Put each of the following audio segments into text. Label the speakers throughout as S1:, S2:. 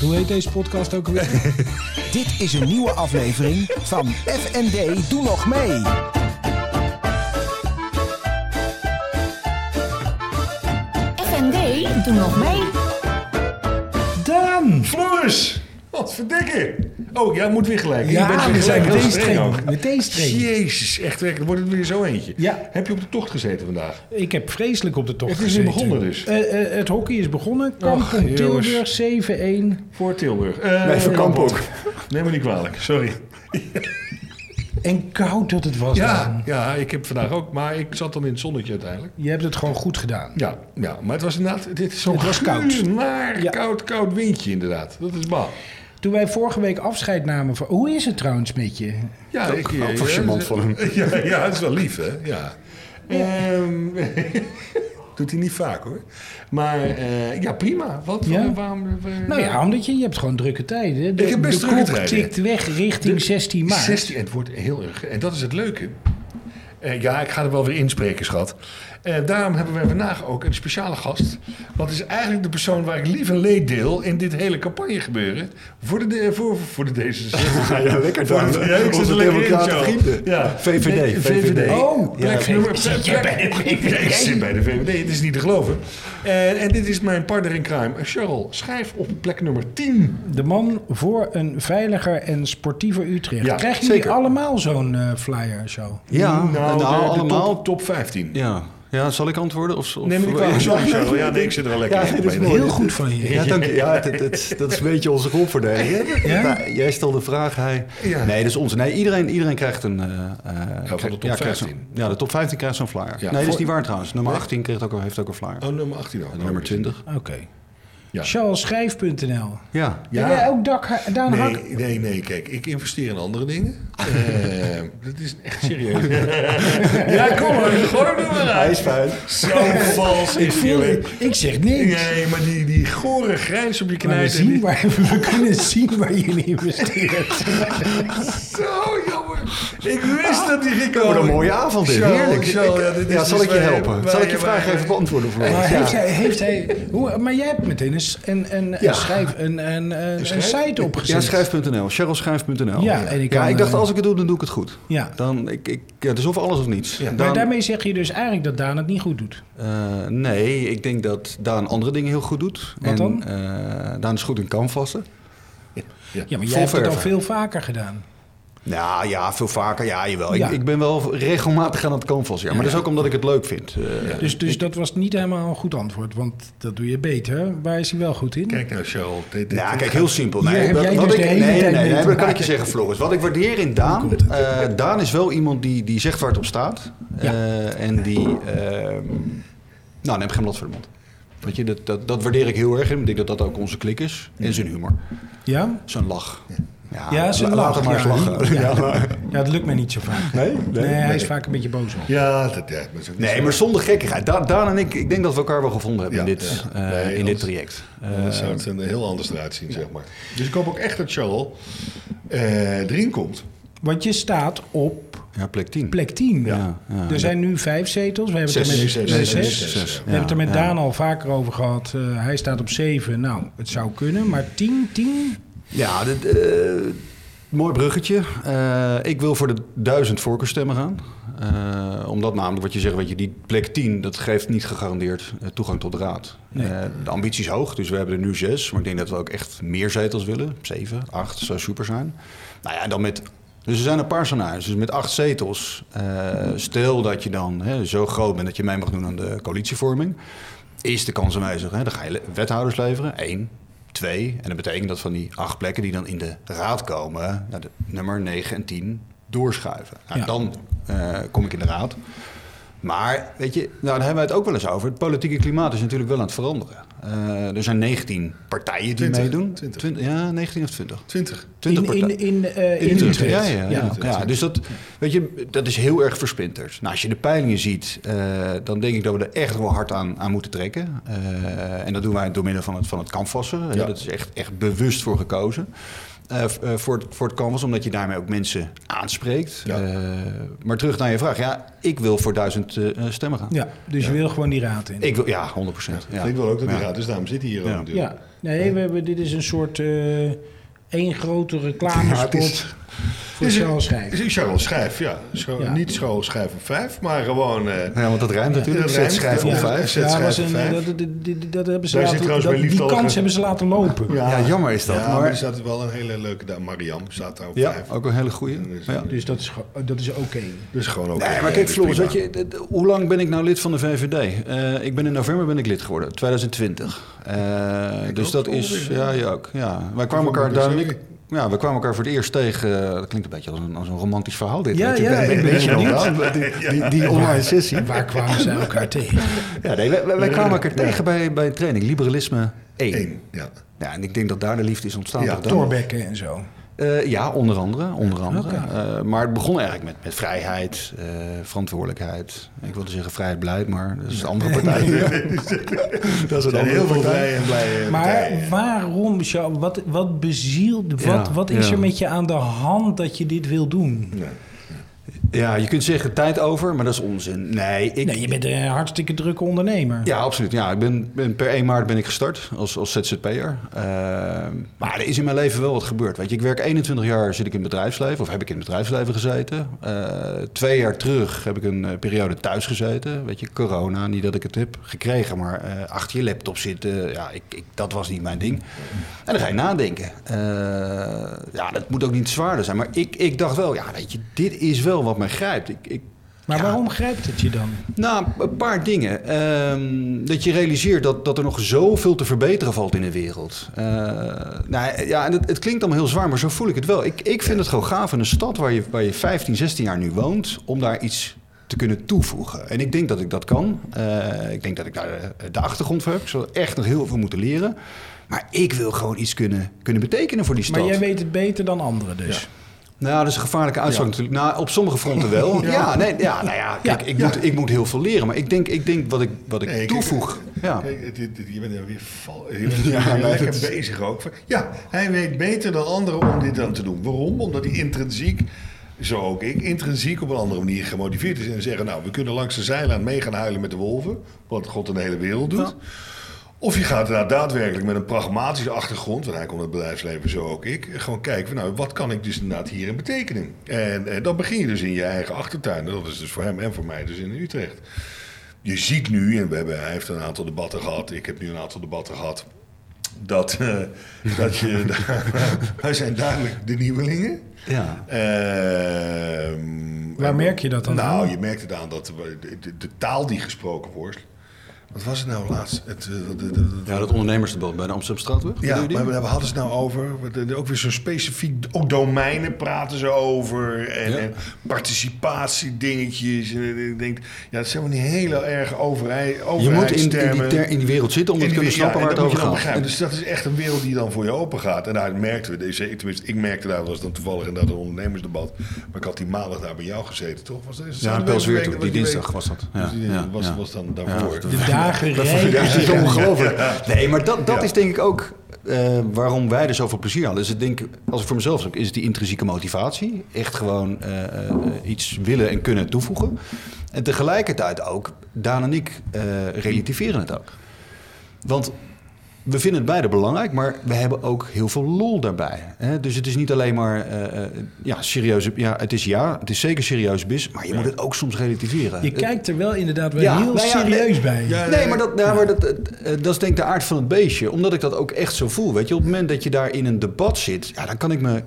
S1: Hoe heet deze podcast ook alweer?
S2: Dit is een nieuwe aflevering van FND Doe Nog Mee.
S3: FND, doe nog mee.
S1: Daan!
S4: Floris! Wat verdikke! Oh, jij moet weer gelijk.
S1: Ja,
S4: je bent weer
S1: we zijn
S4: gelijk. Heel
S1: meteen
S4: streng
S1: streng.
S4: ook.
S1: Meteen streng.
S4: Jezus, echt werk. Dan wordt het weer zo eentje.
S1: Ja.
S4: Heb je op de tocht gezeten vandaag?
S1: Ik heb vreselijk op de tocht
S4: Het is weer
S1: gezeten.
S4: begonnen dus.
S1: Eh, eh, het hockey is begonnen. Kampong
S4: jongens.
S1: Tilburg 7-1.
S4: Voor Tilburg. Eh,
S5: Nee, voor Kamp ook.
S4: Neem me niet kwalijk, sorry.
S1: En koud dat het was,
S4: Ja,
S1: Daan.
S4: ja, ik heb vandaag ook, maar ik zat dan in het zonnetje uiteindelijk.
S1: Je hebt het gewoon goed gedaan.
S4: Ja, ja maar het was inderdaad, dit is zo'n
S1: Het was koud.
S4: naar
S1: Ja.
S4: koud, koud windje inderdaad. Dat is bal.
S1: Toen wij vorige week afscheid namen van... Hoe is het trouwens met je?
S4: Ja, ik, eh,
S5: ook wel charmant van hem.
S4: Ja, ja, dat is wel lief, hè? Ja. Ehm, doet hij niet vaak, hoor. Maar eh, ja, prima. Wat,
S1: Ja.
S4: waarom... eh,
S1: Nou ja, omdat je, je hebt gewoon drukke tijden. hè. De,
S4: Ik heb best
S1: de
S4: drukke
S1: klok
S4: tijden.
S1: tikt weg richting 16 maart.
S4: 16, en het wordt heel erg... En dat is het leuke. Eh, ja, ik ga er wel weer inspreken, schat. Eh, daarom hebben we vandaag ook een speciale gast. Want het is eigenlijk de persoon waar ik lief en leed deel... in dit hele campagne gebeuren. Voor de, de- voor, voor de D66.
S5: Ja, lekker dan.
S4: Voor de- ja, ik zit
S5: Onze
S4: er lekker in,
S5: democraten
S4: Joe.
S5: vrienden.
S4: Ja.
S5: VVD,
S4: Nee, VVD.
S1: Oh,
S4: Ja,
S1: plek
S4: ik
S1: nummer-
S4: zit bij de VVD. Ik zit bij de VVD, het is niet te geloven. En, en dit is mijn partner in crime, Cheryl. Schrijf op plek nummer 10.
S1: De man voor een veiliger en sportiever Utrecht.
S4: Ja,
S1: Krijgen jullie
S5: zeker.
S1: allemaal zo'n eh, flyer zo?
S5: Ja, nou,
S4: de- de
S5: allemaal.
S4: Top, top 15.
S5: Ja. ja, zal ik antwoorden? Of, of,
S4: Neem me niet kwalijk. Sorry, Cheryl. Ja, nee, ik zit er wel lekker
S5: Ja,
S4: in.
S5: dit is
S4: Ik
S5: mooi.
S4: weet
S1: Heel goed van je.
S5: Ja, dank je. Ja, dat, dat, dat is een beetje onze rolverdeling. hè?
S1: Ja?
S5: Nou, jij stelde de vraag, hij...
S4: Ja.
S5: Nee, dat is ons. Nee, iedereen, iedereen krijgt een... eh, eh,
S4: de top
S5: krijgt
S4: 15.
S5: zo'n- ja, de top 15 krijgt zo'n flyer.
S4: Ja.
S5: nee, dat
S4: Voor-
S5: is niet waar trouwens. Nummer 18 kreeg ook, al- heeft ook een flyer.
S4: Oh, nummer 18 al.
S5: nummer 20.
S1: Oké.
S4: Ja.
S1: Charlesschrijf.nl.
S5: Ja.
S1: Ja.
S4: Ja.
S1: Jij ook Dak, Daan Hak?
S4: Nee, nee, nee, kijk, ik investeer in andere dingen. Eh, dat is echt serieus. ja, kom maar, gooi hem er maar
S5: Hij
S4: uit.
S5: is fijn.
S4: Zo vals
S1: Ik,
S4: is die,
S1: voel,
S4: hoor.
S1: ik zeg niks.
S4: Nee, maar die, die gore grijns op je
S1: Maar we,
S4: knijt. en
S1: zien
S4: die-
S1: waar, we kunnen zien waar jullie investeren.
S4: Zo jammer. Ik wist dat die ging komen.
S5: Ah, Wat een mooie avond dit.
S4: Charles,
S5: Heerlijk.
S4: Charles,
S5: Ik-
S4: ja, dit is
S5: ja, zal
S4: dus
S5: ik je
S4: wij-
S5: helpen?
S4: wij-
S5: Zal ik je
S4: wij-
S5: vraag even beantwoorden voor
S1: Maar,
S5: ons?
S1: heeft hij, heeft hij, hoe, maar jij hebt meteen een, s- een, een,
S5: Ja.
S1: een schrijf, een, een, een, een
S4: schrijf?
S1: site opgezet.
S5: Ja, schrijf.nl. Cherylschrijf.nl.
S1: Ja, en ik
S5: ik,
S1: kan,
S5: ja, ik dacht,
S1: eh,
S5: als ik het doe, dan doe ik het goed.
S1: Ja.
S5: Dan, ik, ik, ja, het is of alles of niets. Dan-
S1: Maar daarmee zeg je dus eigenlijk dat Daan het niet goed doet.
S5: eh, nee, ik denk dat Daan andere dingen heel goed doet.
S1: Wat
S5: en,
S1: dan?
S5: eh, Daan is goed in canvassen.
S1: Ja, maar jij
S5: Vol
S1: hebt het al
S5: verven.
S1: veel vaker gedaan.
S5: Nou ja, veel vaker. Ja, jawel.
S1: Ja.
S5: Ik, ik ben wel regelmatig aan het canvassen. Ja. Maar dat is ook omdat ik het leuk vind. Eh,
S1: Dus, dus dat was niet helemaal een goed antwoord, want dat doe je beter. Waar is hij wel goed in?
S4: Kijk nou, Charles. Dit, dit-
S5: Nou, kijk, heel simpel.
S1: Hier
S5: Nee,
S1: heb jij
S5: wat, wat
S1: dus
S5: ik,
S1: de
S5: nee,
S1: hele
S5: nee,
S1: tijd
S5: nee,
S1: mee te
S5: maar dat kan ik
S1: maken.
S5: je zeggen, Floris. Wat ik waardeer in Daan... eh, Daan is wel iemand die, die zegt waar het op staat.
S1: Ja.
S5: Eh, en die... ehm, nou, neem geen blad voor de mond. Weet je, dat, dat, dat waardeer ik heel erg. in. Ik denk dat dat ook onze klik is. En zijn humor.
S1: Ja?
S5: Zijn lach. Ja,
S1: Ja, zijn
S5: la-
S1: lach,
S5: Laat hem maar
S1: ja.
S5: eens lachen.
S1: Ja.
S5: Ja, maar-
S1: Ja, dat lukt mij niet zo vaak.
S5: Nee?
S1: Nee, hij is vaak een beetje boos op.
S4: Ja, dat, ja, dat is ook niet
S5: Nee,
S4: zo.
S5: maar zonder gekkigheid. Da- Daan en ik, ik denk dat we elkaar wel gevonden hebben
S4: Ja,
S5: in, dit,
S4: ja.
S5: eh,
S4: Nee,
S5: in dit
S4: anders-
S5: traject.
S4: Dan zou
S5: Eh,
S4: het er heel anders eruit zien, zeg maar. Dus ik hoop ook echt dat Charles eh, erin komt.
S1: Want je staat op
S5: Ja, plek 10.
S1: plek 10.
S5: Ja, ja.
S1: er zijn nu vijf zetels. We hebben
S5: Zes.
S1: het er met,
S4: Zes,
S1: nee,
S4: zes,
S1: zes.
S4: zes,
S5: zes.
S1: We hebben het er met
S5: Ja,
S1: Daan al vaker over gehad. Eh, hij staat op 7. Nou, het zou kunnen. Maar 10, 10.
S5: Ja, dit, eh, mooi bruggetje. Eh, ik wil voor de duizend voorkeurstemmen gaan. Eh, omdat namelijk wat je zegt, weet je, die plek 10, dat geeft niet gegarandeerd eh, toegang tot de raad. Eh, de ambitie is hoog, dus we hebben er nu zes. Maar ik denk dat we ook echt meer zetels willen. Zeven, acht, zou super zijn. Nou ja, dan met... Dus er zijn een paar scenario's. Dus met acht zetels, eh, stel dat je dan hè, zo groot bent dat je mee mag doen aan de coalitievorming, is de kans aanwezig. Hè? Dan ga je le- wethouders leveren, één. Twee, en dat betekent dat van die acht plekken die dan in de raad komen, ja, de nummer 9 en 10 doorschuiven. Nou,
S1: Ja.
S5: Dan eh, kom ik in de raad. Maar weet je, nou, daar hebben we het ook wel eens over. Het politieke klimaat is natuurlijk wel aan het veranderen. Eh, er zijn 19 partijen die
S4: 20,
S5: meedoen.
S4: 20.
S5: Twint- ja, 19 of 20.
S4: 20.
S5: 20
S1: in,
S5: partijen.
S1: in, in, eh, in,
S5: Utrecht,
S1: Utrecht.
S5: Ja, ja, ja. Ja, dus dat, weet je, dat is heel erg versplinterd. Nou, als je de peilingen ziet, eh, dan denk ik dat we er echt wel hard aan, aan moeten trekken. Eh, en dat doen wij door middel van het, van het canvassen. Eh,
S4: Ja.
S5: Dat is echt, echt bewust voor gekozen. eh, v- eh, voor, het, voor het canvas, omdat je daarmee ook mensen aanspreekt.
S6: Ja.
S5: Eh, maar terug naar je vraag. Ja, ik wil voor duizend eh, stemmen gaan.
S1: Ja, dus je wil gewoon die raad in.
S5: Ik wil, ja, 100 procent. Ja.
S4: Ik wil ook dat die
S5: Ja.
S4: gaat, dus daarom zit hij hier
S5: Ja.
S4: ook natuurlijk.
S1: ja, nee, we hebben, dit is een soort eh één grote
S6: Ja, het
S1: reclamespot
S6: is-
S1: voor
S6: is-
S1: Charles
S6: Is
S1: Schijf.
S6: een Charles Schijf, ja. Scho-
S1: Ja.
S6: Niet Charles Schijf op vijf, maar gewoon... eh,
S5: Ja, want dat rijmt natuurlijk.
S6: dat
S5: Zet
S6: rijmt.
S5: schrijven op
S6: Ja.
S5: vijf.
S6: Zet
S1: Ja, was
S6: schijf op
S1: een, eh,
S6: vijf.
S1: dat, dat, dat, dat hebben ze
S6: Daar zit
S1: laten,
S6: trouwens
S1: dat-
S6: bij
S1: die
S6: Liefdallige-
S1: kans hebben ze laten lopen.
S5: Ja, jammer is dat.
S4: Ja, maar er
S5: maar,
S4: staat wel een hele leuke dame. Mariam staat daar op
S5: ja,
S4: vijf.
S5: ook een hele goeie. Ja.
S1: Dus dat is, ge- dat is oké.
S4: Dus gewoon ook.
S5: Nee, maar kijk, Floris, weet je, d- d- hoe lang ben ik nou lid van de VVD? Eh, ik ben in november ben ik lid geworden, 2020. Eh, dus
S4: ook,
S5: dat is,
S4: ongeveer.
S5: ja, ja, ook. Ja. Wij kwamen
S4: November
S5: elkaar
S4: dus
S5: duidelijk.
S4: ook.
S5: Ja, we kwamen elkaar voor het eerst tegen. eh, Dat klinkt een beetje als een, als een romantisch verhaal dit.
S1: Ja,
S5: weet je.
S1: ja,
S5: Ben- ben-
S1: ik
S5: ben
S1: ben
S5: je
S1: benieuwd.
S5: nog aan? Die, die, die online sessie.
S1: Waar kwamen ze elkaar tegen?
S5: Ja, nee, wij, wij- wij kwamen elkaar tegen bij, bij een training, Liberalisme 1.
S4: Eén, ja.
S5: Ja, en ik denk dat daar de liefde is ontstaan.
S4: Ja,
S5: toch dan?
S1: Torbekken en zo.
S5: Eh, ja, onder andere. Onder andere.
S1: Oké.
S5: Eh, maar het begon eigenlijk met, met vrijheid, eh, verantwoordelijkheid. Ik wilde zeggen vrijheid, beleid, maar dat is een andere partij. dat is
S4: Er
S5: een
S4: zijn
S5: andere
S4: heel veel
S5: partij.
S4: blij en blij.
S1: Maar waarom, Charles? Wat, wat bezielt,
S5: Ja,
S1: wat, wat is
S5: ja.
S1: er met je aan de hand dat je dit wil doen?
S5: Ja, je kunt zeggen tijd over, maar dat is onzin. Nee, ik...
S1: Nee, je bent een hartstikke drukke ondernemer.
S5: Ja, absoluut. Ja, ik ben, ben per 1 maart ben ik gestart als, als ZZP'er. Eh, maar er is in mijn leven wel wat gebeurd. Weet je, ik werk 21 jaar zit ik in het bedrijfsleven, of heb ik in het bedrijfsleven gezeten. Eh, twee jaar terug heb ik een eh, periode thuis gezeten. Weet je, corona, niet dat ik het heb gekregen, maar eh, achter je laptop zitten, ja, ik, ik, dat was niet mijn ding. En dan ga je nadenken. Eh, ja, dat moet ook niet zwaarder zijn. Maar ik, ik dacht wel, ja, weet je, dit is wel wat mij grijpt. Ik, ik,
S1: Maar
S5: ja.
S1: waarom grijpt het je dan?
S5: Nou, een paar dingen. Ehm, dat je realiseert dat, dat er nog zoveel te verbeteren valt in de wereld. Eh, nou, ja, en het, het klinkt allemaal heel zwaar, maar zo voel ik het wel. Ik, ik vind het gewoon gaaf in een stad waar je, waar je 15, 16 jaar nu woont, om daar iets te kunnen toevoegen. En ik denk dat ik dat kan. Eh, ik denk dat ik daar eh, de achtergrond voor heb. Ik zal echt nog heel veel moeten leren. Maar ik wil gewoon iets kunnen, kunnen betekenen voor die stad.
S1: Maar jij weet het beter dan anderen dus.
S5: Nou, dat is een gevaarlijke uitspraak natuurlijk. Nou, op sommige fronten wel. ja. nee, ja, nou ja, kijk, Ik, moet, ik moet heel veel leren. Maar ik denk, ik denk wat ik, wat ik
S4: Nee, kijk,
S5: toevoeg. ja.
S4: Kijk, het- het- het- je bent er weer, val, je bent er
S5: Ja,
S4: weer
S5: nee,
S4: lekker
S5: dat-
S4: bezig ook. Ja, hij weet beter dan anderen om dit dan te doen. Waarom? Omdat hij intrinsiek, zo ook ik, intrinsiek op een andere manier gemotiveerd is. En zeggen, nou, we kunnen langs de zijlaan mee gaan huilen met de wolven. Wat God in de hele wereld doet. Of je gaat inderdaad daadwerkelijk met een pragmatische achtergrond, want hij komt uit het bedrijfsleven, zo ook ik, gewoon kijken van nou, wat kan ik dus inderdaad hierin betekenen? En, eh, dan begin je dus in je eigen achtertuin. Dat is dus voor hem en voor mij dus in Utrecht. Je ziet nu, en we hebben, hij heeft een aantal debatten gehad, ik heb nu een aantal debatten gehad, dat, eh, dat je, wij zijn duidelijk de nieuwelingen.
S5: Ja.
S4: Ehm,
S1: Waar
S4: en-
S1: merk je dat dan
S4: Nou,
S1: aan?
S4: je merkt het aan dat we- de, de, de taal die gesproken wordt. Wat was het nou laatst? Het, eh, de- de- de-
S5: ja, dat ondernemersdebat bij de Amsterdamstraatweg.
S4: ja, maar we hadden ze nou over. Wat, eh, Ook weer zo specifiek. Ook domeinen praten ze over. En,
S5: Ja.
S4: en participatiedingetjes. En, eh, ik denk, ja, dat zijn wel niet heel erg overheid.
S5: Je moet in, in, die
S4: overheidstermen.
S5: ter- in die wereld zitten om het te kunnen snappen
S4: Ja, en
S5: waar het
S4: dat
S5: over
S4: moet je dan
S5: gaat.
S4: begrijpen. Dus dat is echt een wereld die dan voor je open gaat. En daar merkten we, deze, tenminste, ik merkte daar, was dan toevallig inderdaad een ondernemersdebat. Maar ik had die maandag daar bij jou gezeten, toch? Was, dat-
S5: Ja, in
S4: was
S5: Pelsweer
S4: die
S5: toen,
S4: week-
S5: die
S4: was
S5: dinsdag was dat.
S4: was,
S5: Ja,
S4: die-
S5: ja,
S4: was,
S5: ja.
S4: was dan daarvoor.
S1: De dagen rijken.
S5: Ja, dat is
S4: Ja.
S5: ongelooflijk. Nee, maar dat, dat
S4: Ja.
S5: is denk ik ook eh, waarom wij er zoveel plezier hadden. Dus ik denk, als ik voor mezelf zeg, is het die intrinsieke motivatie. Echt gewoon eh, eh, iets willen en kunnen toevoegen. En tegelijkertijd ook, Daan en ik eh, relativeren het ook. Want we vinden het beide belangrijk, maar we hebben ook heel veel lol daarbij. Hè? Dus het is niet alleen maar eh, eh, ja, serieus. Ja, het is ja, het is zeker serieus bis, maar je moet het ook soms relativeren.
S1: Je
S5: Het-
S1: kijkt er wel inderdaad wel
S5: Ja,
S1: heel
S5: nou ja,
S1: serieus
S5: nee.
S1: bij.
S4: Ja.
S5: Nee, maar, dat, nou, maar dat, eh, eh, dat is denk ik de aard van het beestje. Omdat ik dat ook echt zo voel. Weet je, op het moment dat je daar in een debat zit, ja, dan kan ik me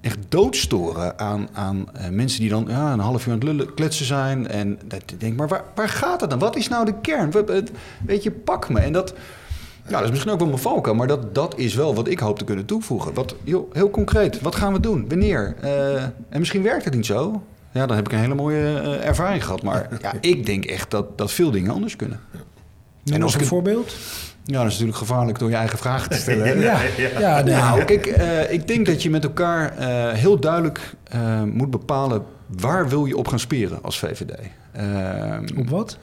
S5: echt doodstoren aan, aan eh, mensen die dan ja, een half uur aan het lullen, kletsen zijn. En dat ik denk, maar waar, waar gaat het dan? Wat is nou de kern? Wat- het- Weet je, pak me. En dat, ja, dat is misschien ook wel mijn valkuil, maar dat, dat is wel wat ik hoop te kunnen toevoegen. Wat, joh, heel concreet, wat gaan we doen? Wanneer? Eh, en misschien werkt het niet zo. Ja, dan heb ik een hele mooie eh, ervaring gehad. Maar ja, ik denk echt dat, dat veel dingen anders kunnen.
S1: En
S5: En als
S1: als
S5: ik
S1: een
S5: het-
S1: voorbeeld?
S5: Ja, dat is natuurlijk gevaarlijk door je eigen vragen te stellen. hè?
S1: Ja, ja, nee.
S5: Nou, kijk, eh, ik denk dat je met elkaar eh, heel duidelijk eh, moet bepalen waar wil je op gaan speren als VVD. Ehm,
S1: Op wat?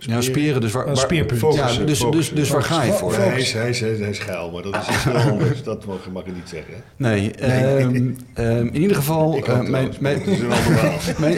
S5: Ja, spieren, Eh, dus waar,
S1: Een
S5: waar-
S1: speerpunt.
S5: Ja,
S4: Focussen,
S5: dus, dus,
S4: focussen,
S5: dus waar ga je voor?
S4: Nee, hij, is, hij, is, hij is- hij is geil, maar dat is iets heel anders. Dat mag, mag je niet zeggen. hè?
S5: Nee, ehm, ehm, in ieder geval...
S4: Ik
S5: eh,
S4: had
S5: mijn,
S4: trouwens,
S5: mijn,
S4: dat is een ander verhaal.
S5: mijn-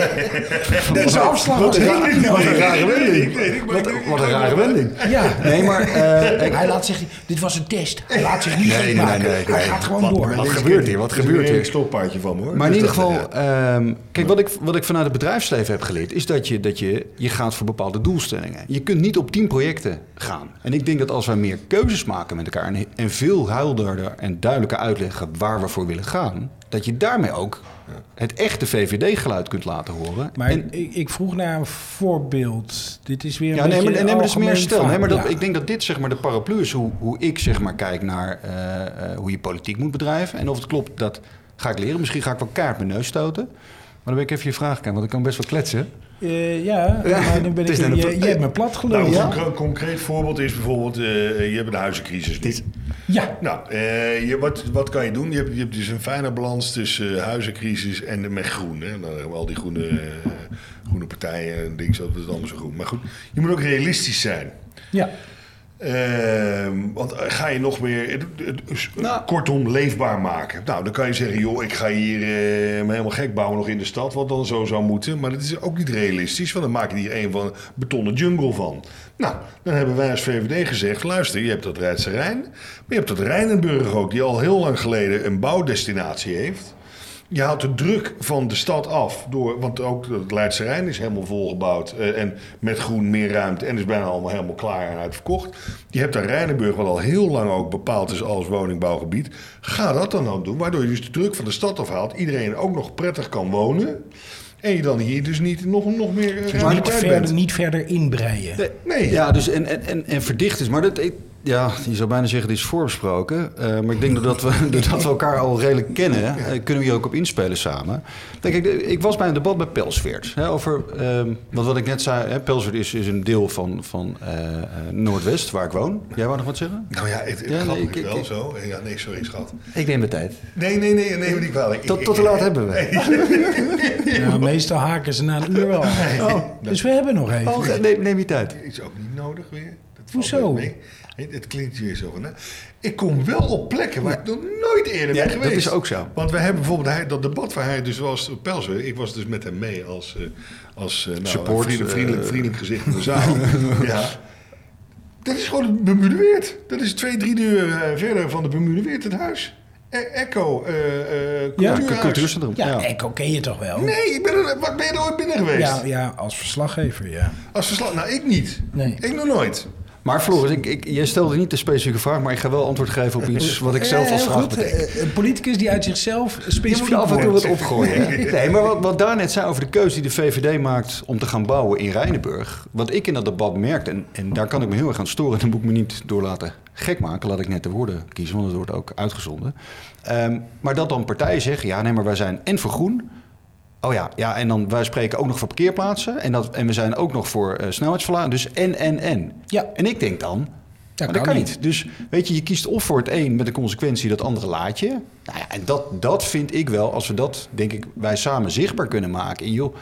S4: Dat is afslag. Wat een rare wending.
S5: wat, wat een rare wending.
S1: Ja.
S5: Nee, maar eh, ik-
S1: Hij laat zich, dit was een test. Hij laat zich niet
S5: Nee,
S1: gek
S5: nee,
S1: maken.
S5: nee, nee,
S1: Hij
S5: nee.
S1: gaat gewoon door.
S5: wat gebeurt hier? Wat gebeurt
S4: Er is
S5: hier?
S4: een stokpaardje van me, hoor.
S5: Maar in
S4: Dus
S5: ieder
S4: dat-
S5: geval,
S4: ja.
S5: ehm, kijk, wat ik, wat ik vanuit het bedrijfsleven heb geleerd, is dat, je, dat je, je gaat voor bepaalde doelstellingen. Je kunt niet op tien projecten gaan. En ik denk dat als wij meer keuzes maken met elkaar en, en veel huilderder en duidelijker uitleggen waar we voor willen gaan, dat je daarmee ook het echte VVD-geluid kunt laten horen.
S1: Maar
S5: en,
S1: ik, ik vroeg naar een voorbeeld. Dit is weer een
S5: ja, nee, maar,
S1: beetje
S5: nee, maar dat is meer
S1: algemeen
S5: stil. Nee, maar dat,
S1: verhaal.
S5: Ik denk dat dit zeg maar de paraplu is hoe, hoe ik zeg maar kijk naar eh, eh, hoe je politiek moet bedrijven. En of het klopt, dat ga ik leren. Misschien ga ik wel kaart mijn neus stoten. Maar dan ben ik even je vraag aan, want ik kan best wel kletsen.
S1: Eh, ja, maar dan ben ik...
S5: Het is
S1: Je,
S5: net een-
S1: je hebt me plat
S4: Nou,
S1: gelopen.
S4: een
S1: Ja.
S4: conc- concreet voorbeeld is bijvoorbeeld, eh, je hebt een huizencrisis. nu. Nou, eh, je, wat, wat kan je doen? Je hebt, je hebt dus een fijne balans tussen eh, huizencrisis en de- met groen. Hè? Dan hebben we al die groene, eh, groene partijen en dingen, dat is allemaal zo groen. Maar goed, je moet ook realistisch zijn.
S1: ja.
S4: Ehm, want eh, ga je nog meer, het- het- het-
S5: Nou.
S4: eh, kortom, leefbaar maken? Nou, dan kan je zeggen, joh, ik ga hier eh, me helemaal gek bouwen nog in de stad, wat dan zo zou moeten. Maar dat is ook niet realistisch, want dan maak je hier een van betonnen jungle van. Nou, dan hebben wij als VVD gezegd, luister, je hebt dat Rijdse Rijn, maar je hebt dat Rijnenburg ook, die al heel lang geleden een bouwdestinatie heeft. Je haalt de druk van de stad af. Door, want ook het Leidse Rijn is helemaal volgebouwd. eh, en met groen meer ruimte. En is bijna allemaal helemaal klaar en uitverkocht. Je hebt daar Rijnenburg, wat al heel lang ook bepaald is als woningbouwgebied. Ga dat dan ook doen. Waardoor je dus de druk van de stad afhaalt. Iedereen ook nog prettig kan wonen. En je dan hier dus niet nog, nog meer eh,
S1: Maar niet
S4: realiteit
S1: verder,
S4: bent.
S1: niet verder inbreien.
S4: Nee.
S5: Ja, dus en, en, en, en verdicht is. Maar dat, ik- ja, je zou bijna zeggen, dit is voorbesproken. Eh, maar ik denk doordat we, doordat we elkaar al redelijk kennen, eh, kunnen we hier ook op inspelen samen. Kijk, ik, ik was bij een debat bij Pelsweert. Hè, over, ehm, want wat ik net zei, hè, Pelsweert is, is een deel van, van eh, eh, Noordwest, waar ik woon. Jij wou nog wat zeggen?
S4: Nou ja, het, het
S5: Ja, nee,
S4: grappig
S5: ik-
S4: is
S5: ik-
S4: wel
S5: ik-
S4: zo. Ja, nee, sorry schat.
S5: Ik neem de tijd.
S4: Nee, nee, nee, nee, niet kwalijk.
S5: Tot,
S4: Ik-
S5: tot te
S4: ik-
S5: laat hebben we.
S1: Ja, Nou, meestal haken ze na een uur wel. af. dus we hebben nog even.
S5: Oh, neem, neem je tijd.
S4: is ook niet nodig weer. Dat valt
S1: Hoezo?
S4: best mee. Het klinkt weer zo van. hè. Ik kom wel op plekken waar ik nog nooit eerder
S5: Ja,
S4: ben
S5: dat
S4: geweest.
S5: is ook zo.
S4: Want we hebben bijvoorbeeld hij, dat debat waar hij dus was op Pelsweer. Ik was dus met hem mee als, eh, als eh, nou,
S5: Support,
S4: vriendelijk,
S5: eh,
S4: vriendelijk, vriendelijk gezicht in de zaal. ja. Dat is gewoon het Bermudeweert. Dat is twee, drie uur eh, verder van de Bermudeweert het huis. E- Echo, eh eh
S1: Ja,
S5: Cu-
S4: cultuurhuis.
S5: Cultuurcentrum.
S1: Ja, Echo ken je toch wel?
S4: Nee, ik ben er, wat ben je er ooit binnen geweest?
S1: Ja, ja, als verslaggever, ja.
S4: Als verslag, nou ik niet.
S1: Nee.
S4: Ik nog nooit.
S5: Maar Floris, ik, ik, jij stelde niet de specifieke vraag, maar ik ga wel antwoord geven op iets wat ik zelf
S1: Eh,
S5: als
S1: heel
S5: vraag
S1: goed.
S5: bedenk.
S1: Eh, Een politicus die uit zichzelf
S5: Je moet
S1: specifiek
S5: af en toe
S1: wordt.
S5: wat opgooien. hè? Nee, maar wat, wat daar net zei over de keuze die de VVD maakt om te gaan bouwen in Rijnenburg. Wat ik in dat debat merkte, en, en daar kan ik me heel erg aan storen, dan moet ik me niet door laten gek maken. Laat ik net de woorden kiezen, want het wordt ook uitgezonden. Ehm, maar dat dan partijen zeggen, ja nee, maar wij zijn en voor groen. Oh ja, ja, en dan wij spreken ook nog voor parkeerplaatsen. En, dat, en we zijn ook nog voor eh snelheidsverlaging. Dus en, en, en.
S1: Ja.
S5: En ik denk dan,
S1: Dat
S5: maar dat
S1: kan
S5: kan
S1: niet.
S5: niet. Dus weet je, je kiest of voor het een met de consequentie dat andere laat je. Nou ja, en dat, dat vind ik wel, als we dat, denk ik, wij samen zichtbaar kunnen maken. En joh,